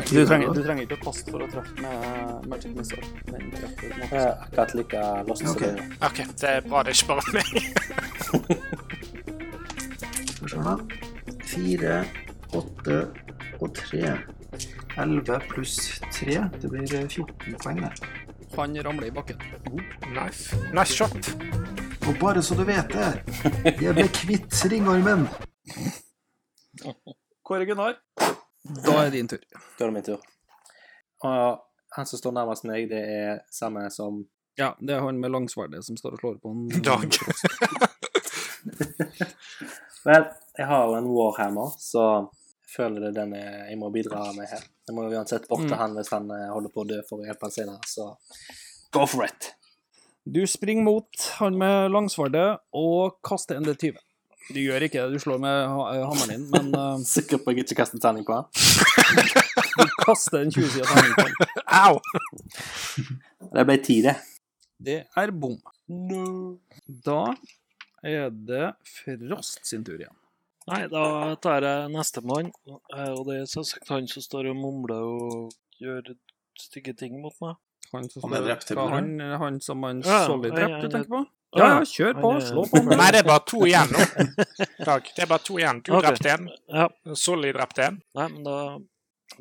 [SPEAKER 1] Du
[SPEAKER 2] det 20
[SPEAKER 1] trenger,
[SPEAKER 2] da.
[SPEAKER 1] du trenger ikke å kaste for å treffe med Eh, Magic Missile. Den treffer du
[SPEAKER 5] Jeg
[SPEAKER 1] nok.
[SPEAKER 5] er akkurat like lost som
[SPEAKER 2] Ok.
[SPEAKER 5] du.
[SPEAKER 3] OK, det er bra det er ikke bare meg.
[SPEAKER 2] Skal vi se da. 4, 8 og 3. 11 pluss 3, det blir eh, 14 poeng, det.
[SPEAKER 1] Han ramler i bakken.
[SPEAKER 3] Nice. Nice shot.
[SPEAKER 2] Og bare så du vet det, jeg ble kvitt ringormen.
[SPEAKER 1] Kåre Gunnar. Da er din tur.
[SPEAKER 5] Da er det min tur. Og han som står nærmest meg, det er samme som
[SPEAKER 1] Ja, det er han med langsverdet som står og slår på en
[SPEAKER 3] Dag.
[SPEAKER 5] Vel, jeg har jo en Warhammer, så jeg føler det er den jeg jeg må bidra med her. Jeg må jo uansett bort til
[SPEAKER 1] Mm.
[SPEAKER 5] han hvis han eh, holder på å dø for å hjelpe han senere, så go for it!
[SPEAKER 1] Du springer mot han med langsverdet og kaster en D20. Du gjør ikke det, du slår med ha- eh, hammeren din, men eh,
[SPEAKER 5] Sikker på at jeg ikke kaster en terning på han.
[SPEAKER 1] du kaster en 20-sida terning på han.
[SPEAKER 3] Au!
[SPEAKER 5] Det ble ti, det.
[SPEAKER 1] Det er bom. Da er det Frost sin tur igjen.
[SPEAKER 4] Nei, da tar jeg nestemann, eh, og det er selvsagt han som står og mumler og gjør stygge ting mot meg.
[SPEAKER 1] Han som,
[SPEAKER 2] Han er
[SPEAKER 1] står-
[SPEAKER 2] drept,
[SPEAKER 1] hva, han,
[SPEAKER 2] eller?
[SPEAKER 1] han som han
[SPEAKER 4] Ja,
[SPEAKER 1] Solly
[SPEAKER 4] han-
[SPEAKER 1] drepte,
[SPEAKER 4] han-
[SPEAKER 1] du tenker på? Ja, ja, kjør på,
[SPEAKER 4] han er-
[SPEAKER 1] slå på.
[SPEAKER 3] Nei, det er bare to igjen nå. Dag, det er bare to igjen. Du
[SPEAKER 4] Ok.
[SPEAKER 3] drepte en.
[SPEAKER 4] Ja,
[SPEAKER 3] Solly drepte en.
[SPEAKER 4] nei, men da,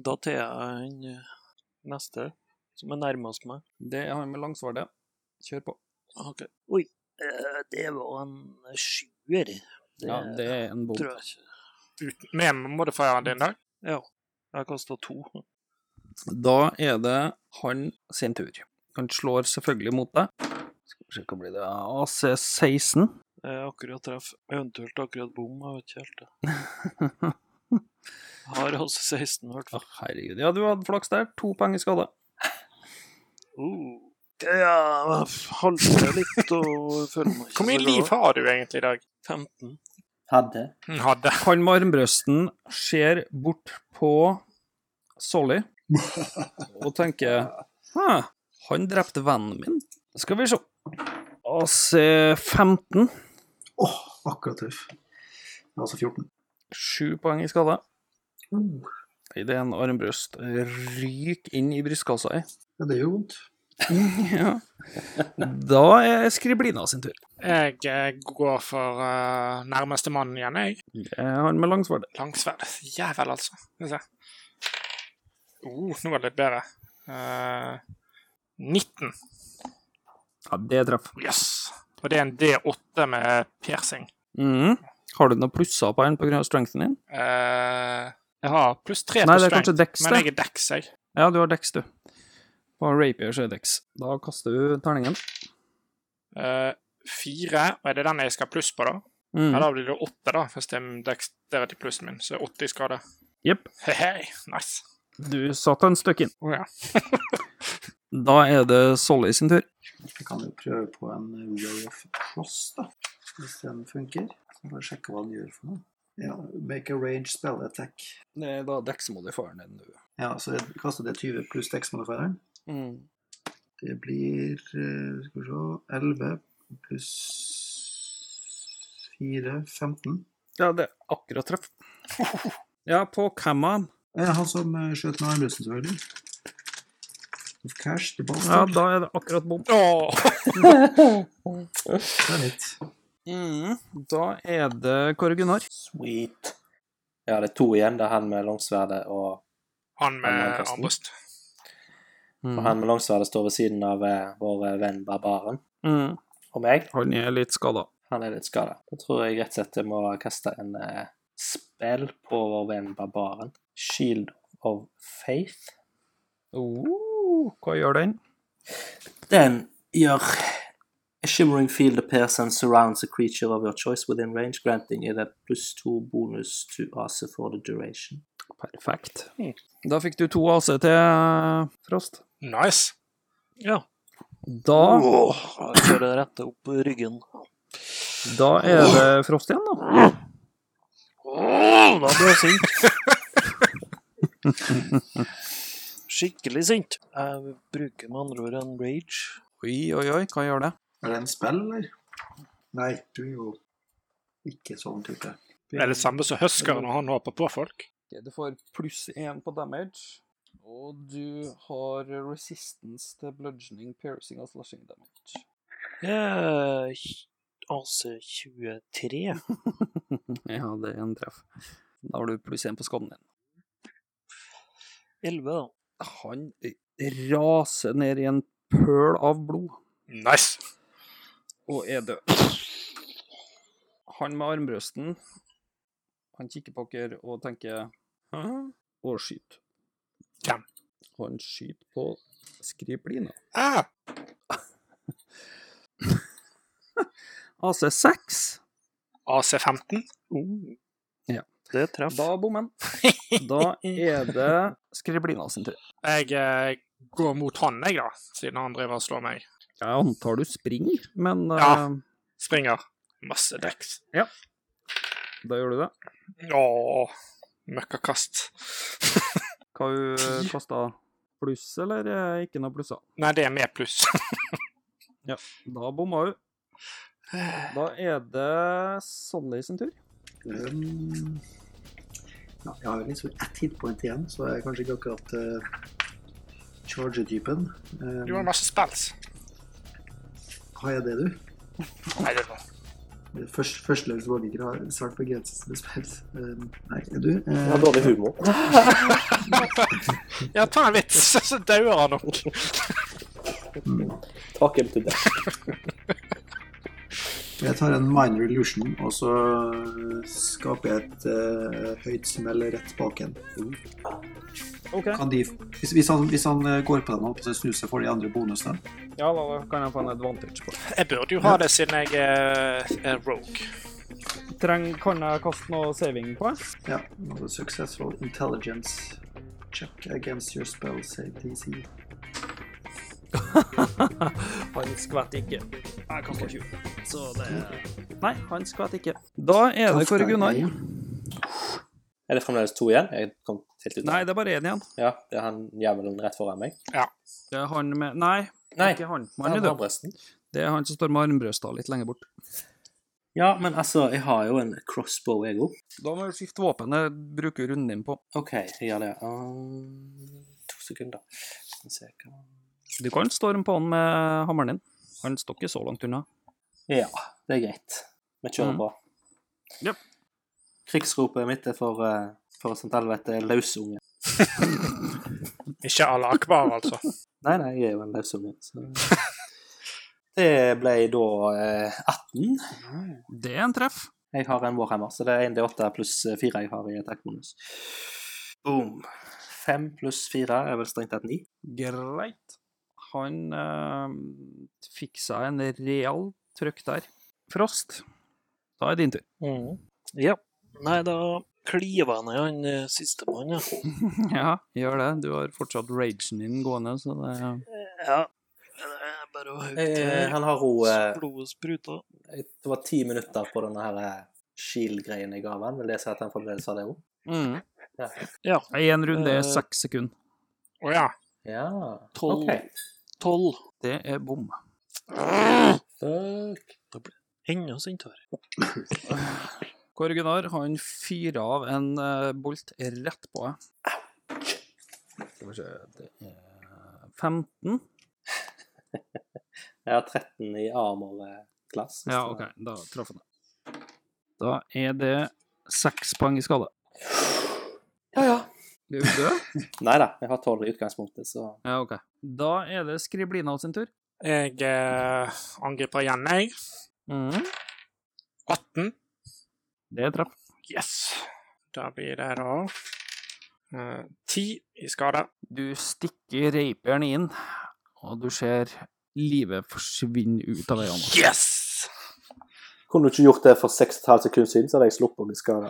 [SPEAKER 4] da tar jeg han eh, neste, som er nærmest meg.
[SPEAKER 1] Det er han med langsvardet. Kjør på.
[SPEAKER 4] Ok. Oi, eh, det var en sjuer. Det
[SPEAKER 1] Ja, det er en bom.
[SPEAKER 4] tror jeg ikke.
[SPEAKER 3] Uten, med modifieren din, Dag.
[SPEAKER 4] Ja, jeg kasta to.
[SPEAKER 1] Da er det han sin tur. Han slår selvfølgelig mot deg. Skal vi se hva blir det AC16.
[SPEAKER 4] Det er akkurat treff. Eventuelt akkurat bom, jeg vet ikke helt det. Jeg Har altså 16, i
[SPEAKER 1] Å,
[SPEAKER 4] hvert fall.
[SPEAKER 1] herregud. Ja, du hadde flaks der. To poeng i skade.
[SPEAKER 4] Oh. Ja, jeg halter litt og føler meg ikke
[SPEAKER 3] Hvor mye
[SPEAKER 4] så
[SPEAKER 3] liv
[SPEAKER 4] glad.
[SPEAKER 3] har du egentlig, Dag?
[SPEAKER 4] 15.
[SPEAKER 5] Hadde.
[SPEAKER 3] Mm, Hadde.
[SPEAKER 1] Han med armbrøsten ser bort på Solly og tenker Hæ, han drepte vennen min. Skal vi se. AC15.
[SPEAKER 2] Åh, akkurat tøff. Altså 14.
[SPEAKER 1] Sju poeng i skade.
[SPEAKER 2] Oh,
[SPEAKER 1] Idet en armbrøst ryker inn i brystkassa di.
[SPEAKER 2] ja, det gjør vondt.
[SPEAKER 1] Ja. Da er Skriblina sin tur.
[SPEAKER 3] Jeg eh, går for eh, nærmeste mann igjen, jeg.
[SPEAKER 1] Det er Han med langsvardet.
[SPEAKER 3] Langsverd. Jævel, altså. Skal vi se. Oh, nå var det litt bedre. Eh, 19.
[SPEAKER 1] Ja, det treffer.
[SPEAKER 3] Yes. Og det er en D8 med piercing.
[SPEAKER 1] Mhm. Har du noen plusser på den pga. strengthen din?
[SPEAKER 3] Eh, jeg har pluss 3
[SPEAKER 1] Nei, det
[SPEAKER 3] på
[SPEAKER 1] er
[SPEAKER 3] strength,
[SPEAKER 1] kanskje Dex,
[SPEAKER 3] men
[SPEAKER 1] det.
[SPEAKER 3] jeg er Dex, jeg.
[SPEAKER 1] Ja, du har Dex, du. På Rapier så er Dex. Da kaster du terningen.
[SPEAKER 3] Eh, Fire, og er det den jeg skal ha pluss på, da? Ja,
[SPEAKER 1] Mhm.
[SPEAKER 3] da blir det åtte, da, hvis det er Dex der er til plussen min. Så 80 skade.
[SPEAKER 1] Jepp.
[SPEAKER 3] Hei, hei. Nice.
[SPEAKER 1] Du satte en støkk inn.
[SPEAKER 3] Å ja.
[SPEAKER 1] Da er det Solly sin tur.
[SPEAKER 2] Jeg kan jo prøve på en Row of Frost, da. Hvis den funker. Så får jeg sjekke hva den gjør for noe. Ja, make a range spell attack.
[SPEAKER 1] Det er da Dex-modifieren din, du.
[SPEAKER 2] Ja, så jeg kaster det 20 pluss Dex-modifieren.
[SPEAKER 1] Mm.
[SPEAKER 2] Det blir eh, Skal vi se 11 pluss 4 15.
[SPEAKER 1] Ja, det er akkurat treff. Ja, på Camma.
[SPEAKER 2] Ja, han som eh, skjøt med armbrusten, selvfølgelig. Of cash, the bastard.
[SPEAKER 1] Ja, da er det akkurat bom.
[SPEAKER 3] Åh,
[SPEAKER 2] Det er litt.
[SPEAKER 1] Da er det Kåre Gunnar.
[SPEAKER 5] Sweet. Ja, det er to igjen. Det er han med langsverdet og
[SPEAKER 3] han
[SPEAKER 5] Han
[SPEAKER 3] med
[SPEAKER 5] med kasten.
[SPEAKER 3] armbrøst.
[SPEAKER 1] Mm.
[SPEAKER 5] Og han med langsverdet står ved siden av eh, vår eh, venn barbaren
[SPEAKER 1] Mhm.
[SPEAKER 5] og meg.
[SPEAKER 1] Han er litt skada.
[SPEAKER 5] Han er litt skada. Da tror jeg rett og slett jeg må kaste en eh, spill på vår venn barbaren. Shield of Faith.
[SPEAKER 1] Oh, hva gjør den?
[SPEAKER 5] Den gjør A shimmering field appears and surrounds a creature of your choice within range, granting it a pluss to bonus to AC for the duration.
[SPEAKER 1] Perfekt. Da fikk du to AC til eh, Frost.
[SPEAKER 3] Nice.
[SPEAKER 4] Ja.
[SPEAKER 1] Da,
[SPEAKER 4] Åh, jeg kjører det rette opp på ryggen.
[SPEAKER 1] da er det Eh, Frost igjen, da.
[SPEAKER 4] Åh, da blir jeg sint. Skikkelig sint. Jeg bruker med andre ord en rage.
[SPEAKER 1] Oi, oi, oi, hva gjør det?
[SPEAKER 2] Er det en spill, eller? Nei, du er jo ikke sånn type.
[SPEAKER 3] Er det samme som Husker når han håper på folk?
[SPEAKER 1] Du får pluss én på damage, og du har resistance til bludgeoning, piercing og slashing damage.
[SPEAKER 4] Eh, AC 23.
[SPEAKER 1] Ja, det er en treff. Da har du pluss én på skaden din.
[SPEAKER 4] 11, da.
[SPEAKER 1] Han raser ned i en pøl av blod.
[SPEAKER 3] Nice.
[SPEAKER 1] og er død. Han med armbrøsten, han kikker på dere og tenker Hæ? Og skyter.
[SPEAKER 3] Hvem?
[SPEAKER 1] Han skyter på skriblina.
[SPEAKER 3] Ah,
[SPEAKER 1] AC6.
[SPEAKER 3] AC15.
[SPEAKER 4] Det treff.
[SPEAKER 1] Da bommer han. Da er det skriblina sin tur.
[SPEAKER 3] Jeg eh, går mot han, jeg, da, siden han driver og slår meg.
[SPEAKER 1] Jeg antar du springer, men eh,
[SPEAKER 3] Ja. Springer. Masse dex.
[SPEAKER 1] da gjør du det.
[SPEAKER 3] Åh, møkkakast.
[SPEAKER 1] Hva du kasta pluss, eller eh, ikke noe plusser?
[SPEAKER 3] Nei, det er med pluss.
[SPEAKER 1] Da bomma hun. Da er det Solly sin tur.
[SPEAKER 9] Um, ja, jeg har jo liksom ett hitpoint igjen, så jeg er kanskje ikke akkurat uh, charger-typen. Um,
[SPEAKER 3] Du har masse spells.
[SPEAKER 9] har jeg det, du?
[SPEAKER 3] Nei, det er noe.
[SPEAKER 9] Først, Førsteløpsborgere har svært begrenset med spels. Um, nei, er du?
[SPEAKER 5] Jeg
[SPEAKER 9] Uh,
[SPEAKER 5] har dårlig humor.
[SPEAKER 3] Ja, ta en vits, så dauer han nok.
[SPEAKER 5] Takk hjem til deg.
[SPEAKER 9] jeg tar en minor illusion, og så
[SPEAKER 2] eh,
[SPEAKER 9] skaper jeg et eh, høyt smell rett bak en.
[SPEAKER 10] OK.
[SPEAKER 2] Kan de, hvis, hvis, han, hvis han eh, går på den og snur seg, får de andre bonusene.
[SPEAKER 10] Ja, da, da.
[SPEAKER 1] Kan jeg få en advantage på?
[SPEAKER 3] Jeg burde jo ha det siden jeg er, er rogue.
[SPEAKER 1] Treng, kan jeg kaste noe saving på? det?
[SPEAKER 9] Ja, another successful intelligence check against your spell save DC.
[SPEAKER 1] Han skvetter ikke. Jeg kaster 20. Så det Nei, han skvetter ikke. Da er det Kåre Gunnar.
[SPEAKER 5] Er det fremdeles to igjen? Jeg kom helt ut.
[SPEAKER 1] Nei, det er bare én igjen.
[SPEAKER 5] Ja, det er han jævelen rett foran meg.
[SPEAKER 1] Det er han med Nei, det
[SPEAKER 5] Nei,
[SPEAKER 1] er ikke han.
[SPEAKER 5] han
[SPEAKER 1] Han er
[SPEAKER 5] har
[SPEAKER 1] død.
[SPEAKER 5] bresten.
[SPEAKER 1] Det er han som står med armbrøsta litt lenger bort.
[SPEAKER 5] Ja, men altså, jeg har jo en crossbow, jeg òg.
[SPEAKER 1] Da må du skifte våpen. Det bruker runden din på.
[SPEAKER 5] OK, jeg gjør det. Um, to sekunder. Skal vi se hva
[SPEAKER 1] Du kan storme på han med hammeren din. Han står ikke så langt unna.
[SPEAKER 5] Ja, det er greit. Vi kjører
[SPEAKER 1] Mm.
[SPEAKER 5] på.
[SPEAKER 1] Japp.
[SPEAKER 5] Krigsropet mitt er for, eh, for sånt helvete lausunge.
[SPEAKER 3] Ikke Allah Akbar, altså.
[SPEAKER 5] Nei, nei, jeg er jo en lausunge, så Det ble da eh, 18.
[SPEAKER 1] Det er en treff.
[SPEAKER 5] Jeg har en Warhammer, så det er 1D8 pluss 4 jeg har i attack-bonus. Boom. 5 pluss 4 er vel strengt tatt 9.
[SPEAKER 1] Greit. Han eh, fikk seg en real trøkk der. Frost, da er din tur.
[SPEAKER 4] Mm. Ja. Nei, da kliver jeg ned han eh, sistemann, ja.
[SPEAKER 1] Ja, gjør det. Du har fortsatt ragen din gående, så det
[SPEAKER 4] ja. Det er bare å hogge
[SPEAKER 5] Eh,
[SPEAKER 4] til
[SPEAKER 5] han har hun eh,
[SPEAKER 4] blodet spruter.
[SPEAKER 5] Det var 10 minutter på denne her eh, shield-greien jeg ga han. Vil det si at han fremdeles har det òg?
[SPEAKER 1] mm.
[SPEAKER 5] Ja.
[SPEAKER 4] Ja.
[SPEAKER 1] En runde
[SPEAKER 4] Eh.
[SPEAKER 1] er seks sekunder.
[SPEAKER 3] Å ja.
[SPEAKER 5] ja.
[SPEAKER 4] Tolv.
[SPEAKER 5] OK.
[SPEAKER 4] Tolv.
[SPEAKER 1] Det er bom.
[SPEAKER 5] Fuck.
[SPEAKER 4] Enda sintere.
[SPEAKER 1] Kåre Gunnar, han fyrer av en eh, bolt rett på deg. Skal vi se Det er 15.
[SPEAKER 5] Jeg har 13 i eh, armor-glass.
[SPEAKER 1] Ja, OK. Da traff han deg. Da er det seks poeng i skade.
[SPEAKER 5] Ja, ja.
[SPEAKER 1] Du er død?
[SPEAKER 5] Nei da, jeg har 12 i utgangspunktet, så
[SPEAKER 1] Ja, OK. Da er det Skriblina sin tur.
[SPEAKER 3] Jeg eh, angriper igjen, jeg. 18.
[SPEAKER 1] Mm. Det er traff.
[SPEAKER 3] Yes. Da blir det da eh, 10 i skade.
[SPEAKER 1] Du stikker reiperen inn, og du ser livet forsvinne ut av øynene.
[SPEAKER 3] Yes!
[SPEAKER 5] Kunne du ikke gjort det for 6,5 sekunder siden, så hadde jeg sluppet å bli skada.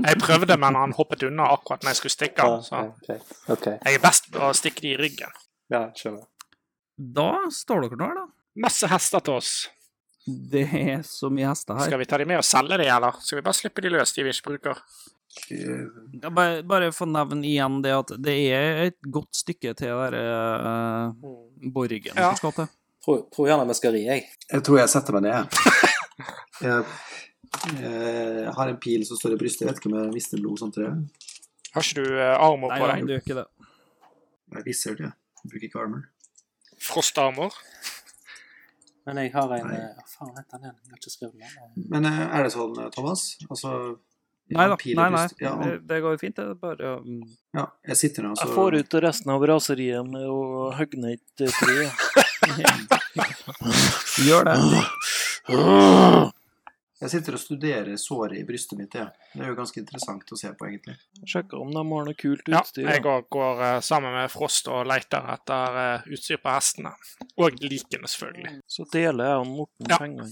[SPEAKER 3] Jeg prøvde, men han hoppet unna akkurat når jeg skulle stikke. han, Så
[SPEAKER 5] OK.
[SPEAKER 3] jeg er best på å stikke de i ryggen.
[SPEAKER 5] Ja, skjønner.
[SPEAKER 1] Da står dere nå her, da.
[SPEAKER 3] Masse hester til oss.
[SPEAKER 1] Det er så mye hester her.
[SPEAKER 3] Skal vi ta de med og selge de, eller? Skal vi bare slippe de løs, de vi ikke bruker?
[SPEAKER 1] Ja, bare, bare få nevne igjen det at det er et godt stykke til der eh, borgen
[SPEAKER 3] Ja.
[SPEAKER 1] du skal til.
[SPEAKER 5] Tror, tror gjerne vi skal ri, jeg.
[SPEAKER 2] Jeg tror jeg setter meg ned. jeg. Jeg, eh, har en pil som står i brystet. Jeg vet ikke om jeg mister blod samtidig.
[SPEAKER 3] Har ikke du eh, armor
[SPEAKER 1] Nei,
[SPEAKER 3] på
[SPEAKER 1] da,
[SPEAKER 3] deg?
[SPEAKER 1] du gjør ikke det.
[SPEAKER 2] Jeg er wizard, jeg. jeg. Bruker ikke armor.
[SPEAKER 3] Frostarmor?
[SPEAKER 5] Men jeg har en
[SPEAKER 2] Nei.
[SPEAKER 5] eh, Hva faen heter den igjen? Jeg har ikke skrevet den.
[SPEAKER 2] Men eh, er det sånn, eh, Thomas? Altså jeg
[SPEAKER 1] Nei
[SPEAKER 2] har
[SPEAKER 1] da,
[SPEAKER 2] pil i
[SPEAKER 1] nei, nei. Eh,
[SPEAKER 2] brystet. Ja,
[SPEAKER 1] Det,
[SPEAKER 2] og-
[SPEAKER 1] det går fint, det. er Bare mm,
[SPEAKER 2] ja, jeg sitter nå, så
[SPEAKER 4] Jeg får ut resten av raseriet med å hogge ned et eh, tre.
[SPEAKER 1] gjør det.
[SPEAKER 2] Jeg sitter og studerer såret i brystet mitt, jeg. Det er jo ganske interessant å se på, egentlig.
[SPEAKER 4] Sjekke om de har noe kult
[SPEAKER 3] Ja,
[SPEAKER 4] utstyr.
[SPEAKER 3] jeg går, går eh, sammen med Frost og leter etter eh, utstyr på hestene. Og likene, selvfølgelig.
[SPEAKER 4] Så deler jeg og Morten
[SPEAKER 3] Ja.
[SPEAKER 4] pengene.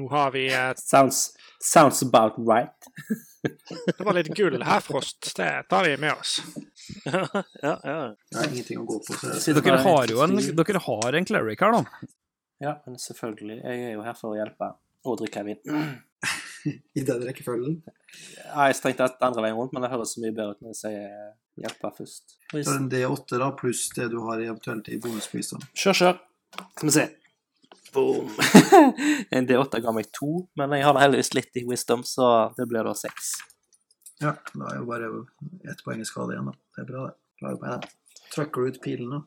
[SPEAKER 3] Nå har vi eh,
[SPEAKER 5] Sounds, sounds about right.
[SPEAKER 3] Det var litt gull her, Frost. Det tar vi med oss.
[SPEAKER 4] ja, ja.
[SPEAKER 2] Jeg har ingenting å gå på. Så jeg...
[SPEAKER 1] Dere har jo en, dere har en cleric her, da.
[SPEAKER 5] Ja, men selvfølgelig. Jeg er jo her for å hjelpe og drikke vin.
[SPEAKER 2] I den rekkefølgen.
[SPEAKER 5] Ja, jeg stengte et andre veien rundt, men det høres så mye bedre ut når jeg sier hjelpe først.
[SPEAKER 2] Så er det en D8 da, pluss det du har eventuelt i bonusprisen.
[SPEAKER 5] Kjør, kjør. Skal vi se. Boom! en D8 ga meg to, men jeg har da heldigvis litt i wisdom, så det blir da seks.
[SPEAKER 2] Ja, da er jo bare ett poeng i skade igjen, da. Det er bra, det. Klarer meg det. Trøkker du ut pilene?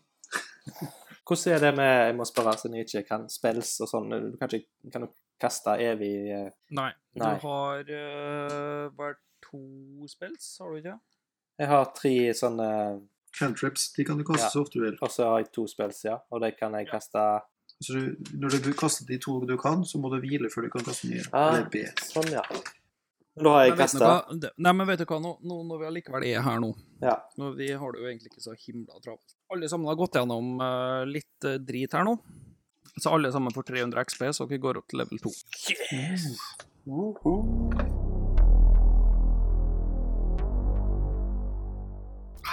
[SPEAKER 5] Hvordan er det med Jeg må spørre, siden jeg ikke kan spills og sånn. Du kan ikke kan du kaste evig eh,
[SPEAKER 1] Nei. Du
[SPEAKER 5] Nei.
[SPEAKER 1] har eh, bare to spills, har du ikke?
[SPEAKER 5] Jeg har tre sånne,
[SPEAKER 2] Cantrips, de kan du kaste
[SPEAKER 5] Ja.
[SPEAKER 2] så ofte du vil.
[SPEAKER 5] og så har jeg to spills, ja. Og det kan jeg kaste
[SPEAKER 2] Så du, når du kaster de to du kan, så må du hvile før du kan kaste nye.
[SPEAKER 5] Ah.
[SPEAKER 2] Det er B.
[SPEAKER 5] Sånn, ja. Da har jeg
[SPEAKER 1] Men vet du
[SPEAKER 5] kasta
[SPEAKER 1] hva? Det- Nei, men vet du hva, nå, nå når vi allikevel er her nå
[SPEAKER 5] Ja.
[SPEAKER 1] nå, Vi har det jo egentlig ikke så himla travelt. Alle sammen har gått gjennom eh, litt eh, drit her nå. Så alle sammen får 300 XP, så dere går opp til level 2.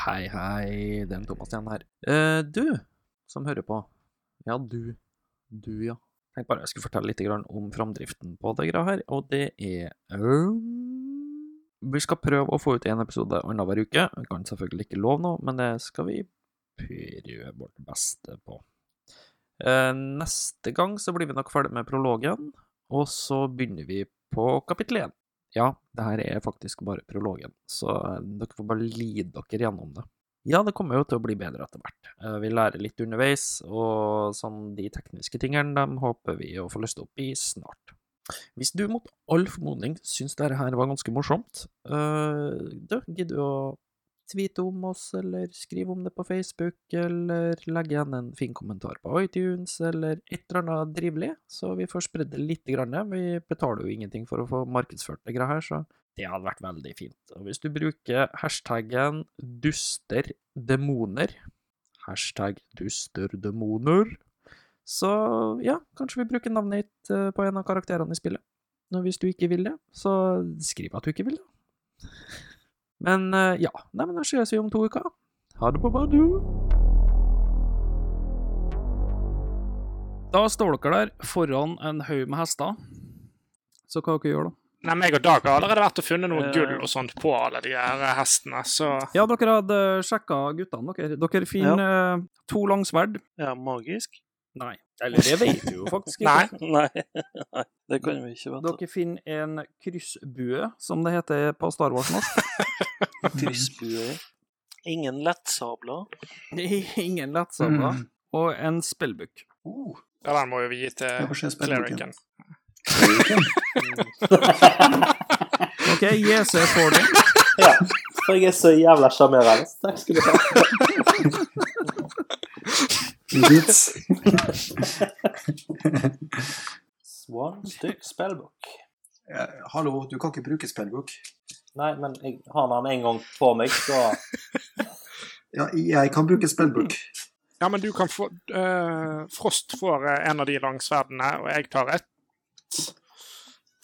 [SPEAKER 1] Hei, hei, det er Thomas igjen her. Eh, du som hører på. Ja, du. Du, ja. Tenk bare jeg skulle fortelle litt grann om framdriften på det greia her, og det er øhm, Vi skal prøve å få ut én episode annenhver uke. Jeg kan selvfølgelig ikke love noe, men det skal vi prøve vårt beste på. Eh, Neste gang så blir vi nok ferdig med prologen, og så begynner vi på kapittel én. Ja, det her er faktisk bare prologen, så eh, dere får bare lide dere gjennom det. Ja, det kommer jo til å bli bedre etter hvert. Eh, Vi lærer litt underveis, og sånn de tekniske tingene, dem håper vi å få løst opp i snart. Hvis du mot all formodning syns dette her var ganske morsomt, eh, du, gidder du å tweete om oss, eller skrive om det på Facebook, eller legge igjen en fin kommentar på iTunes, eller et eller annet drivelig, så vi får spredd det lite grann. Vi betaler jo ingenting for å få markedsført det greia her, så det hadde vært veldig fint. Og hvis du bruker hashtaggen dusterdemoner, hashtag dusterdemoner, så ja, kanskje vi bruker navnet ditt eh, på en av karakterene i spillet. Og hvis du ikke vil det, så skriv at du ikke vil det. Men eh, ja, nei, men da ses vi om to uker. Ha det på badu!
[SPEAKER 8] Da står dere der foran en haug med hester. Så hva dere gjør da?
[SPEAKER 3] Nei, meg og Dag har allerede vært og funnet noe
[SPEAKER 4] Eh.
[SPEAKER 3] gull og sånt på alle de her hestene, så
[SPEAKER 8] Ja, dere hadde sjekka guttene dere. Dere finner eh, to langsverd.
[SPEAKER 4] Ja, magisk?
[SPEAKER 8] Nei. Eller det vet du jo faktisk ikke.
[SPEAKER 3] Nei.
[SPEAKER 4] Nei, nei, det kan vi ikke vite.
[SPEAKER 8] Dere finner en kryssbue, som det heter på Star Wars norsk.
[SPEAKER 4] Kryssbue. Ingen lettsabler.
[SPEAKER 8] Ingen lettsabler. Og en spillbok.
[SPEAKER 2] Oh,
[SPEAKER 3] Ja, den må jo vi gi
[SPEAKER 2] jeg
[SPEAKER 3] til
[SPEAKER 2] får se spennende.
[SPEAKER 3] Clericen.
[SPEAKER 8] OK, JC får det.
[SPEAKER 5] Ja. For jeg er så jævla sjarmerende. Takk skal du ha.
[SPEAKER 2] Vits.
[SPEAKER 5] Swan stykk spillbok.
[SPEAKER 2] Ja, Eh, hallo, du kan ikke bruke spillbok.
[SPEAKER 5] Nei, men jeg har den en gang på meg, så
[SPEAKER 2] Ja, jeg kan bruke spillbok.
[SPEAKER 3] Ja, men du kan få eh, Frost får eh, en av de langsverdene, og jeg tar ett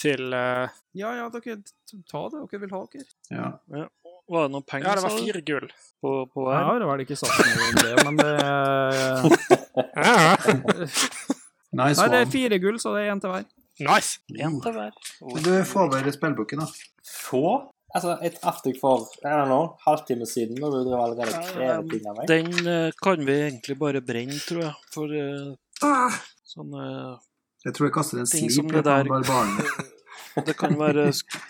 [SPEAKER 3] til eh,
[SPEAKER 8] Ja, ja, dere t- ta det dere vil ha, dere.
[SPEAKER 2] Ja.
[SPEAKER 4] Var det noen
[SPEAKER 3] Ja,
[SPEAKER 4] penger
[SPEAKER 3] det var
[SPEAKER 4] sa du,
[SPEAKER 3] fire gull.
[SPEAKER 4] på, på
[SPEAKER 8] Jeg
[SPEAKER 4] hver?
[SPEAKER 8] har vel ikke sagt noe om det, men det er
[SPEAKER 3] Ja,
[SPEAKER 2] Nei,
[SPEAKER 8] Nei, det er
[SPEAKER 2] Swan.
[SPEAKER 8] fire gull, så det er én til hver.
[SPEAKER 3] nice!
[SPEAKER 4] En til hver.
[SPEAKER 2] Men Du får vel spillboken, da.
[SPEAKER 5] Få? Altså, jeg traff deg for jeg vet ikke, halvtime siden, og du driver allerede og krever ting av meg.
[SPEAKER 4] Den eh, kan vi egentlig bare brenne, tror jeg. For eh, sånne
[SPEAKER 2] Jeg tror jeg kaster en
[SPEAKER 4] Ting
[SPEAKER 2] sleep
[SPEAKER 4] som
[SPEAKER 2] på
[SPEAKER 4] det der.
[SPEAKER 2] barbaren.
[SPEAKER 4] Det kan være sk-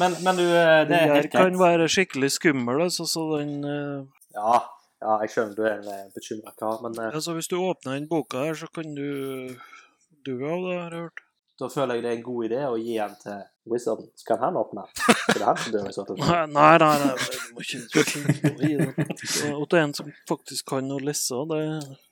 [SPEAKER 5] Men, men du, eh,
[SPEAKER 4] Den
[SPEAKER 5] det er
[SPEAKER 4] der
[SPEAKER 5] helt
[SPEAKER 4] kan
[SPEAKER 5] greit.
[SPEAKER 4] være skikkelig skummel, altså, så den eh,
[SPEAKER 5] Ja, ja, jeg skjønner du er en bekymra kar, men eh,
[SPEAKER 4] Altså, hvis du åpner den boka her, så kan du dø av det, har jeg hørt.
[SPEAKER 5] da føler jeg det er en god idé å gi den til Wizarden. Så kan han åpne. For det er han som dør i så fall.
[SPEAKER 4] Nei, nei, nei, nei du må ikke du må ikke gi den. Og til en som faktisk kan å lese, det
[SPEAKER 5] Jeg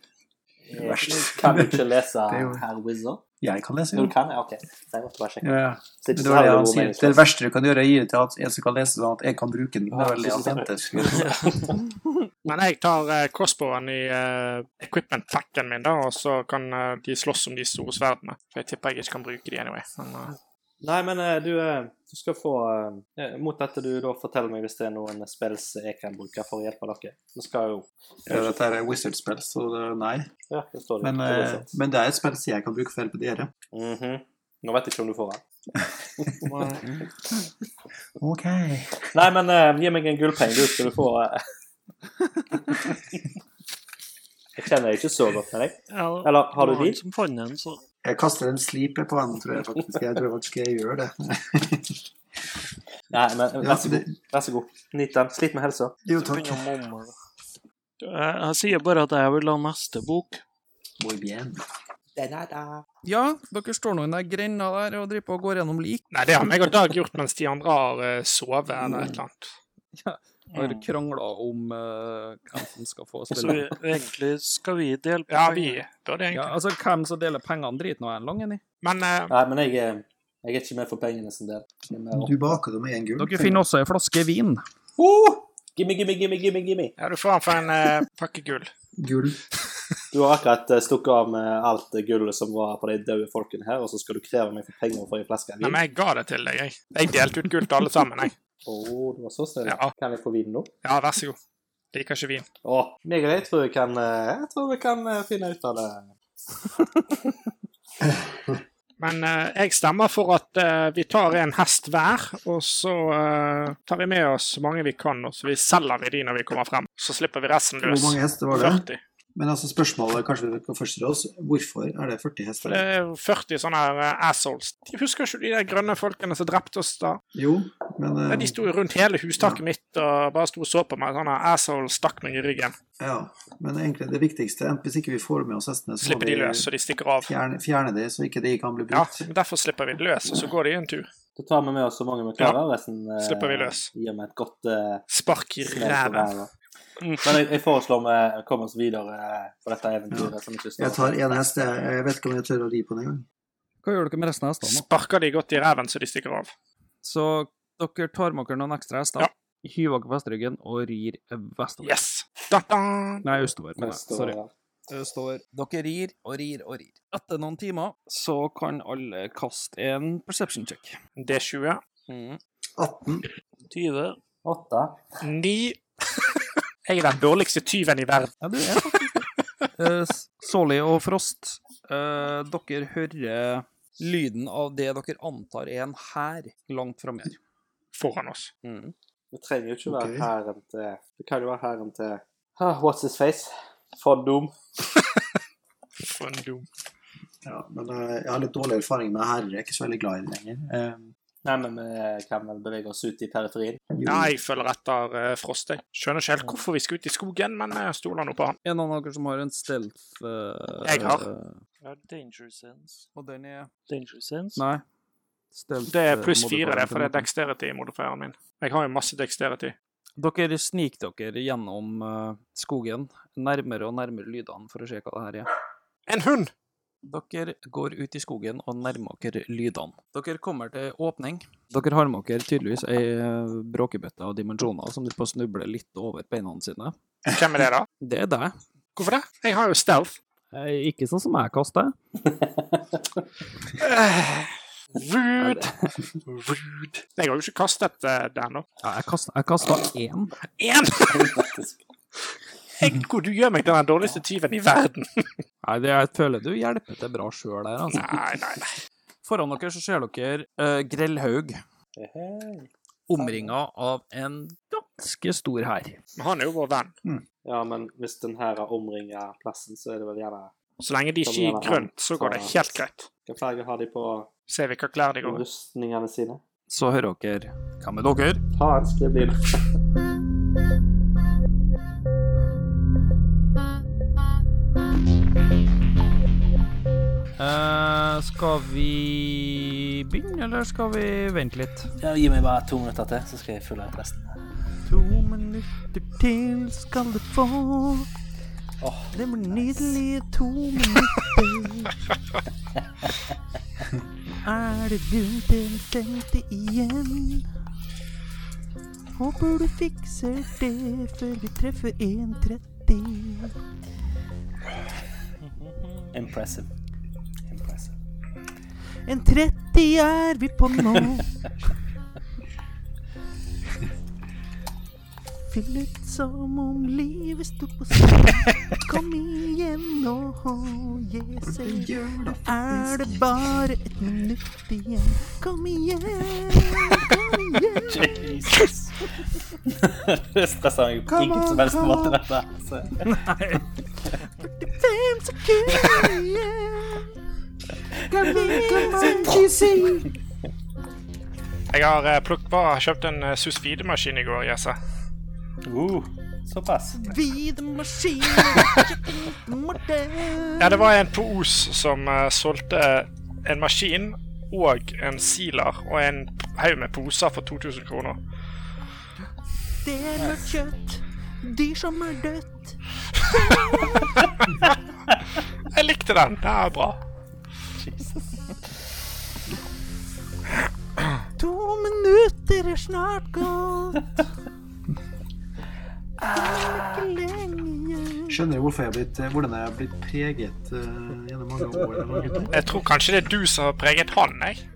[SPEAKER 5] Eh, Kan du ikke lese
[SPEAKER 2] Det er jo-
[SPEAKER 5] herr Wizard?
[SPEAKER 2] Jeg kan lese,
[SPEAKER 5] Jo,
[SPEAKER 2] jo.
[SPEAKER 5] du kan det? OK. Så jeg måtte bare sjekke.
[SPEAKER 2] Ja, ja.
[SPEAKER 5] Så
[SPEAKER 2] Men
[SPEAKER 5] ikke
[SPEAKER 2] Det,
[SPEAKER 5] så
[SPEAKER 2] var det,
[SPEAKER 5] jævlig
[SPEAKER 2] han
[SPEAKER 5] god
[SPEAKER 2] sier.
[SPEAKER 5] mening,
[SPEAKER 2] det verste du kan gjøre, er å gi det til at en som kan lese sånn at jeg kan bruke den. Det er vel det
[SPEAKER 5] sånn. Ja,
[SPEAKER 2] han venter.
[SPEAKER 3] Men jeg tar eh, crossbowen i eh, equipment-packen min, da, og så kan eh, de slåss om de store sverdene. For jeg tipper jeg ikke kan bruke de anyway. Men, eh,
[SPEAKER 5] Nei, men eh, du, eh, du skal få eh, Mot dette du da forteller meg hvis det er noen spills jeg kan bruke for å hjelpe dere. Nå skal jeg jo
[SPEAKER 2] Ja, Dette er Wizard-spill, så det er nei.
[SPEAKER 5] Ja, det står det.
[SPEAKER 2] Men,
[SPEAKER 5] Det er
[SPEAKER 2] eh,
[SPEAKER 5] sant.
[SPEAKER 2] men det er et spill som jeg kan bruke for å hjelpe dere.
[SPEAKER 5] Mhm. Nå vet jeg ikke om du får den.
[SPEAKER 4] Mm.
[SPEAKER 2] Ok.
[SPEAKER 5] Nei, men eh, gi meg en gullpenge, du, skal du få eh. Jeg kjenner deg ikke så godt med deg.
[SPEAKER 4] Ja,
[SPEAKER 5] Eller har
[SPEAKER 4] det
[SPEAKER 5] du
[SPEAKER 4] var han
[SPEAKER 5] de?
[SPEAKER 4] som fant den, så
[SPEAKER 2] Jeg kaster en slip på han, tror jeg faktisk. Jeg tror faktisk jeg gjør det.
[SPEAKER 5] Nei, men eh,
[SPEAKER 2] Ja,
[SPEAKER 5] vær så
[SPEAKER 2] det
[SPEAKER 5] god. Vær så god. Nyt den. Slit med helsa.
[SPEAKER 2] jo,
[SPEAKER 4] så
[SPEAKER 2] takk.
[SPEAKER 4] begynner han å mumle. Jeg, jeg sier bare at jeg vil ha neste bok.
[SPEAKER 2] Muy bien.
[SPEAKER 8] Ja, dere står nå i den grenda der og driver på og går gjennom lik.
[SPEAKER 3] Nei, det har meg og Dag gjort mens de andre har eh, sovet eller et eller annet.
[SPEAKER 8] Har krangla om eh, hvem som skal få
[SPEAKER 4] Så vi,
[SPEAKER 8] spille.
[SPEAKER 4] egentlig skal vi dele på
[SPEAKER 3] Ja, vi
[SPEAKER 4] pengene.
[SPEAKER 3] burde egentlig
[SPEAKER 8] Ja, altså, hvem som deler pengene, driter nå jeg lang i.
[SPEAKER 3] Men eh,
[SPEAKER 5] Nei, men jeg, er- jeg er ikke med for pengene sin del. eh, Jeg er med opp.
[SPEAKER 2] Du baker det med én gull.
[SPEAKER 8] Dere finner også ei flaske vin.
[SPEAKER 5] Oh! Gimme, gimme, gimme, gimme, gimme.
[SPEAKER 3] ja, du får den for en eh, pakke gull.
[SPEAKER 2] Gull.
[SPEAKER 5] Du har akkurat eh, stukket av med alt det gullet som var på de døde folkene her, og så skal du kreve meg for penger for en flaske
[SPEAKER 3] Nei,
[SPEAKER 5] vin?
[SPEAKER 3] men jeg ga det til deg, jeg. Jeg delte ut gull til alle sammen, jeg.
[SPEAKER 5] Å, du var så snill.
[SPEAKER 3] Ja.
[SPEAKER 5] Kan jeg få vin nå?
[SPEAKER 3] Ja, vær så god. Liker ikke vin.
[SPEAKER 5] Å, meg og deg tror jeg kan eh, Jeg tror vi kan eh, finne ut av det.
[SPEAKER 3] Men eh, jeg stemmer for at eh, vi tar en hest hver, og så eh, tar vi med oss så mange vi kan, og så vi selger vi de når vi kommer frem. Så slipper vi resten
[SPEAKER 2] Hvor
[SPEAKER 3] løs.
[SPEAKER 2] mange hester var det?
[SPEAKER 3] 40.
[SPEAKER 2] Men altså spørsmålet kanskje vi kan først til oss, hvorfor er det 40
[SPEAKER 3] For
[SPEAKER 2] hester?
[SPEAKER 3] det er jo 40 sånne her eh, assholes. Jeg husker ikke du de der grønne folkene som drepte oss da?
[SPEAKER 2] Jo, men
[SPEAKER 3] Ja,
[SPEAKER 2] eh,
[SPEAKER 3] De sto jo rundt hele hustaket mitt og bare sto og så på meg. Sånn her asshole stakk meg i ryggen.
[SPEAKER 2] ja, men egentlig det viktigste, enten hvis ikke vi får med oss hestene, så må
[SPEAKER 3] Slipper
[SPEAKER 2] vi
[SPEAKER 3] de løs, så de stikker av.
[SPEAKER 2] fjerne, fjerne de, så ikke de kan bli
[SPEAKER 3] Ja,
[SPEAKER 2] brukt.
[SPEAKER 3] men derfor slipper vi de løs, og så går de en tur.
[SPEAKER 5] Da tar vi med oss så mange vi klarer, resten eh,
[SPEAKER 3] Slipper vi løs.
[SPEAKER 5] gir meg et godt eh,
[SPEAKER 3] Spark i
[SPEAKER 5] smell på
[SPEAKER 3] ræven. Mm.
[SPEAKER 5] ræva. Men jeg, jeg foreslår vi kommer oss videre eh, på dette eventyret. som ikke
[SPEAKER 2] Jeg
[SPEAKER 5] står.
[SPEAKER 2] tar én hest, jeg, jeg vet ikke om jeg tør å ri på den engang.
[SPEAKER 8] Hva gjør dere med resten av hestene? nå?
[SPEAKER 3] Sparker de godt i ræven, så de stikker av.
[SPEAKER 8] Så dere tar med dere noen ekstra hester,
[SPEAKER 3] Ja.
[SPEAKER 8] hyver dere på hesteryggen og rir vestover.
[SPEAKER 3] Yes! Da-da!
[SPEAKER 8] Nei, østover. mener jeg.
[SPEAKER 5] Neste år,
[SPEAKER 8] Sorry.
[SPEAKER 5] ja.
[SPEAKER 8] Det står Dere rir og rir og rir. Etter noen timer så kan alle kaste en perception check.
[SPEAKER 3] D20.
[SPEAKER 2] 18.
[SPEAKER 4] 20.
[SPEAKER 5] Åtte.
[SPEAKER 3] 9. Jeg er den dårligste tyven i verden.
[SPEAKER 8] Ja, du er faktisk det. Eh, S- Solly og Frost, eh, dere hører lyden av det dere antar er en hær langt framme her.
[SPEAKER 3] Foran oss.
[SPEAKER 5] Det trenger jo ikke være
[SPEAKER 2] Ok.
[SPEAKER 5] hæren til Det kan jo være hæren til ah, What's his face? Fondom.
[SPEAKER 3] For en dum.
[SPEAKER 2] Ja, men eh, jeg har litt dårlig erfaring med herrer, jeg er ikke så veldig glad i det lenger. Eh,
[SPEAKER 5] Nei, men vi kan vel bevege oss ut i periferien.
[SPEAKER 2] jo.
[SPEAKER 3] Nei, jeg følger etter uh, Frost, jeg. Skjønner ikke helt hvorfor vi skal ut i skogen, men eh, jeg stoler nå på han.
[SPEAKER 8] Er det noen av dere som har en stealth eh,
[SPEAKER 3] Jeg har.
[SPEAKER 8] eh,
[SPEAKER 4] Ja, danger sense.
[SPEAKER 8] Og den er
[SPEAKER 4] Danger sense?
[SPEAKER 8] Nei. Stealth,
[SPEAKER 3] Det er
[SPEAKER 8] eh,
[SPEAKER 3] pluss
[SPEAKER 8] modifier
[SPEAKER 3] fire, det,
[SPEAKER 8] til
[SPEAKER 3] for det er
[SPEAKER 8] noe.
[SPEAKER 3] dexterity-modifieren min. Jeg har jo masse dexterity.
[SPEAKER 8] Dere snik dere gjennom eh, skogen, nærmere og nærmere lydene for å se hva det her er.
[SPEAKER 3] En hund!
[SPEAKER 8] Dere går ut i skogen og nærmer dere lydene. Dere kommer til åpning. Dere har med dere tydeligvis ei eh, bråkebøtte av dimensjoner som driver på å snuble litt over beina sine.
[SPEAKER 3] Hvem er det, da?
[SPEAKER 8] Det er deg.
[SPEAKER 3] Hvorfor det? Jeg har jo stealth.
[SPEAKER 8] Eh, Ikke sånn som jeg kaster.
[SPEAKER 3] Eh, Rude. Rude. Jeg har jo ikke kastet eh, den nå.
[SPEAKER 8] Ja, Jeg kasta, jeg kasta én.
[SPEAKER 3] Én! Jeg- Hvor du gjør meg til den dårligste tyven i verden.
[SPEAKER 8] Nei, det jeg føler du hjelper til bra sjøl der, altså.
[SPEAKER 3] Nei, nei, nei.
[SPEAKER 8] Foran dere så ser dere eh, Grellhaug
[SPEAKER 5] Hei.
[SPEAKER 8] omringa av en ganske stor hær.
[SPEAKER 3] Men han er jo vår venn.
[SPEAKER 5] Ja, men hvis den her har omringa plassen, så er det vel gjerne
[SPEAKER 3] Så lenge de ikke gir grønt, så går det helt greit.
[SPEAKER 5] Hvilke flagger har de på
[SPEAKER 3] Se hvilke klær de går i.
[SPEAKER 5] rustningene sine?
[SPEAKER 8] Så hører dere Hvem er dere?
[SPEAKER 5] Faen, det blir
[SPEAKER 8] Eh, skal vi begynne, eller skal vi vente litt?
[SPEAKER 5] ja, Gi meg bare to minutter til, så skal jeg følge ut resten.
[SPEAKER 8] To minutter til skal du få. det blir nydelige to minutter. er det vinteren stengte igjen? Håper du fikser det før vi treffer 1.30.
[SPEAKER 5] Impressive. Impressive.
[SPEAKER 8] 1.30 er vi på nå.
[SPEAKER 11] Fyll ut som om livet sto på spill. Kom igjen og hold Jesus. Nå er det bare et minutt igjen. Kom igjen, kom igjen.
[SPEAKER 5] Jesus. det stressa meg på ingen som helst måte, dette. Så.
[SPEAKER 11] 45 sekunder igjen. Kom igjen,
[SPEAKER 3] Jeg har eh, plukk- bare kjøpt en eh, Sus Fide-maskin i går, Jesse.
[SPEAKER 5] Uh, såpass.
[SPEAKER 3] Ja, det var en på Os som eh, solgte en maskin og en sealer og en p- haug med poser for 2000 kroner.
[SPEAKER 11] Det er mørkt kjøtt. Dyr som er dødt.
[SPEAKER 3] Jeg likte den. Det er bra.
[SPEAKER 11] To minutter er snart gått. Det er ikke lenge igjen.
[SPEAKER 2] Skjønner du hvorfor jeg har blitt, hvordan jeg har blitt preget eh, gjennom mange år? eller noe?
[SPEAKER 3] Jeg tror kanskje det er du som har preget han, jeg.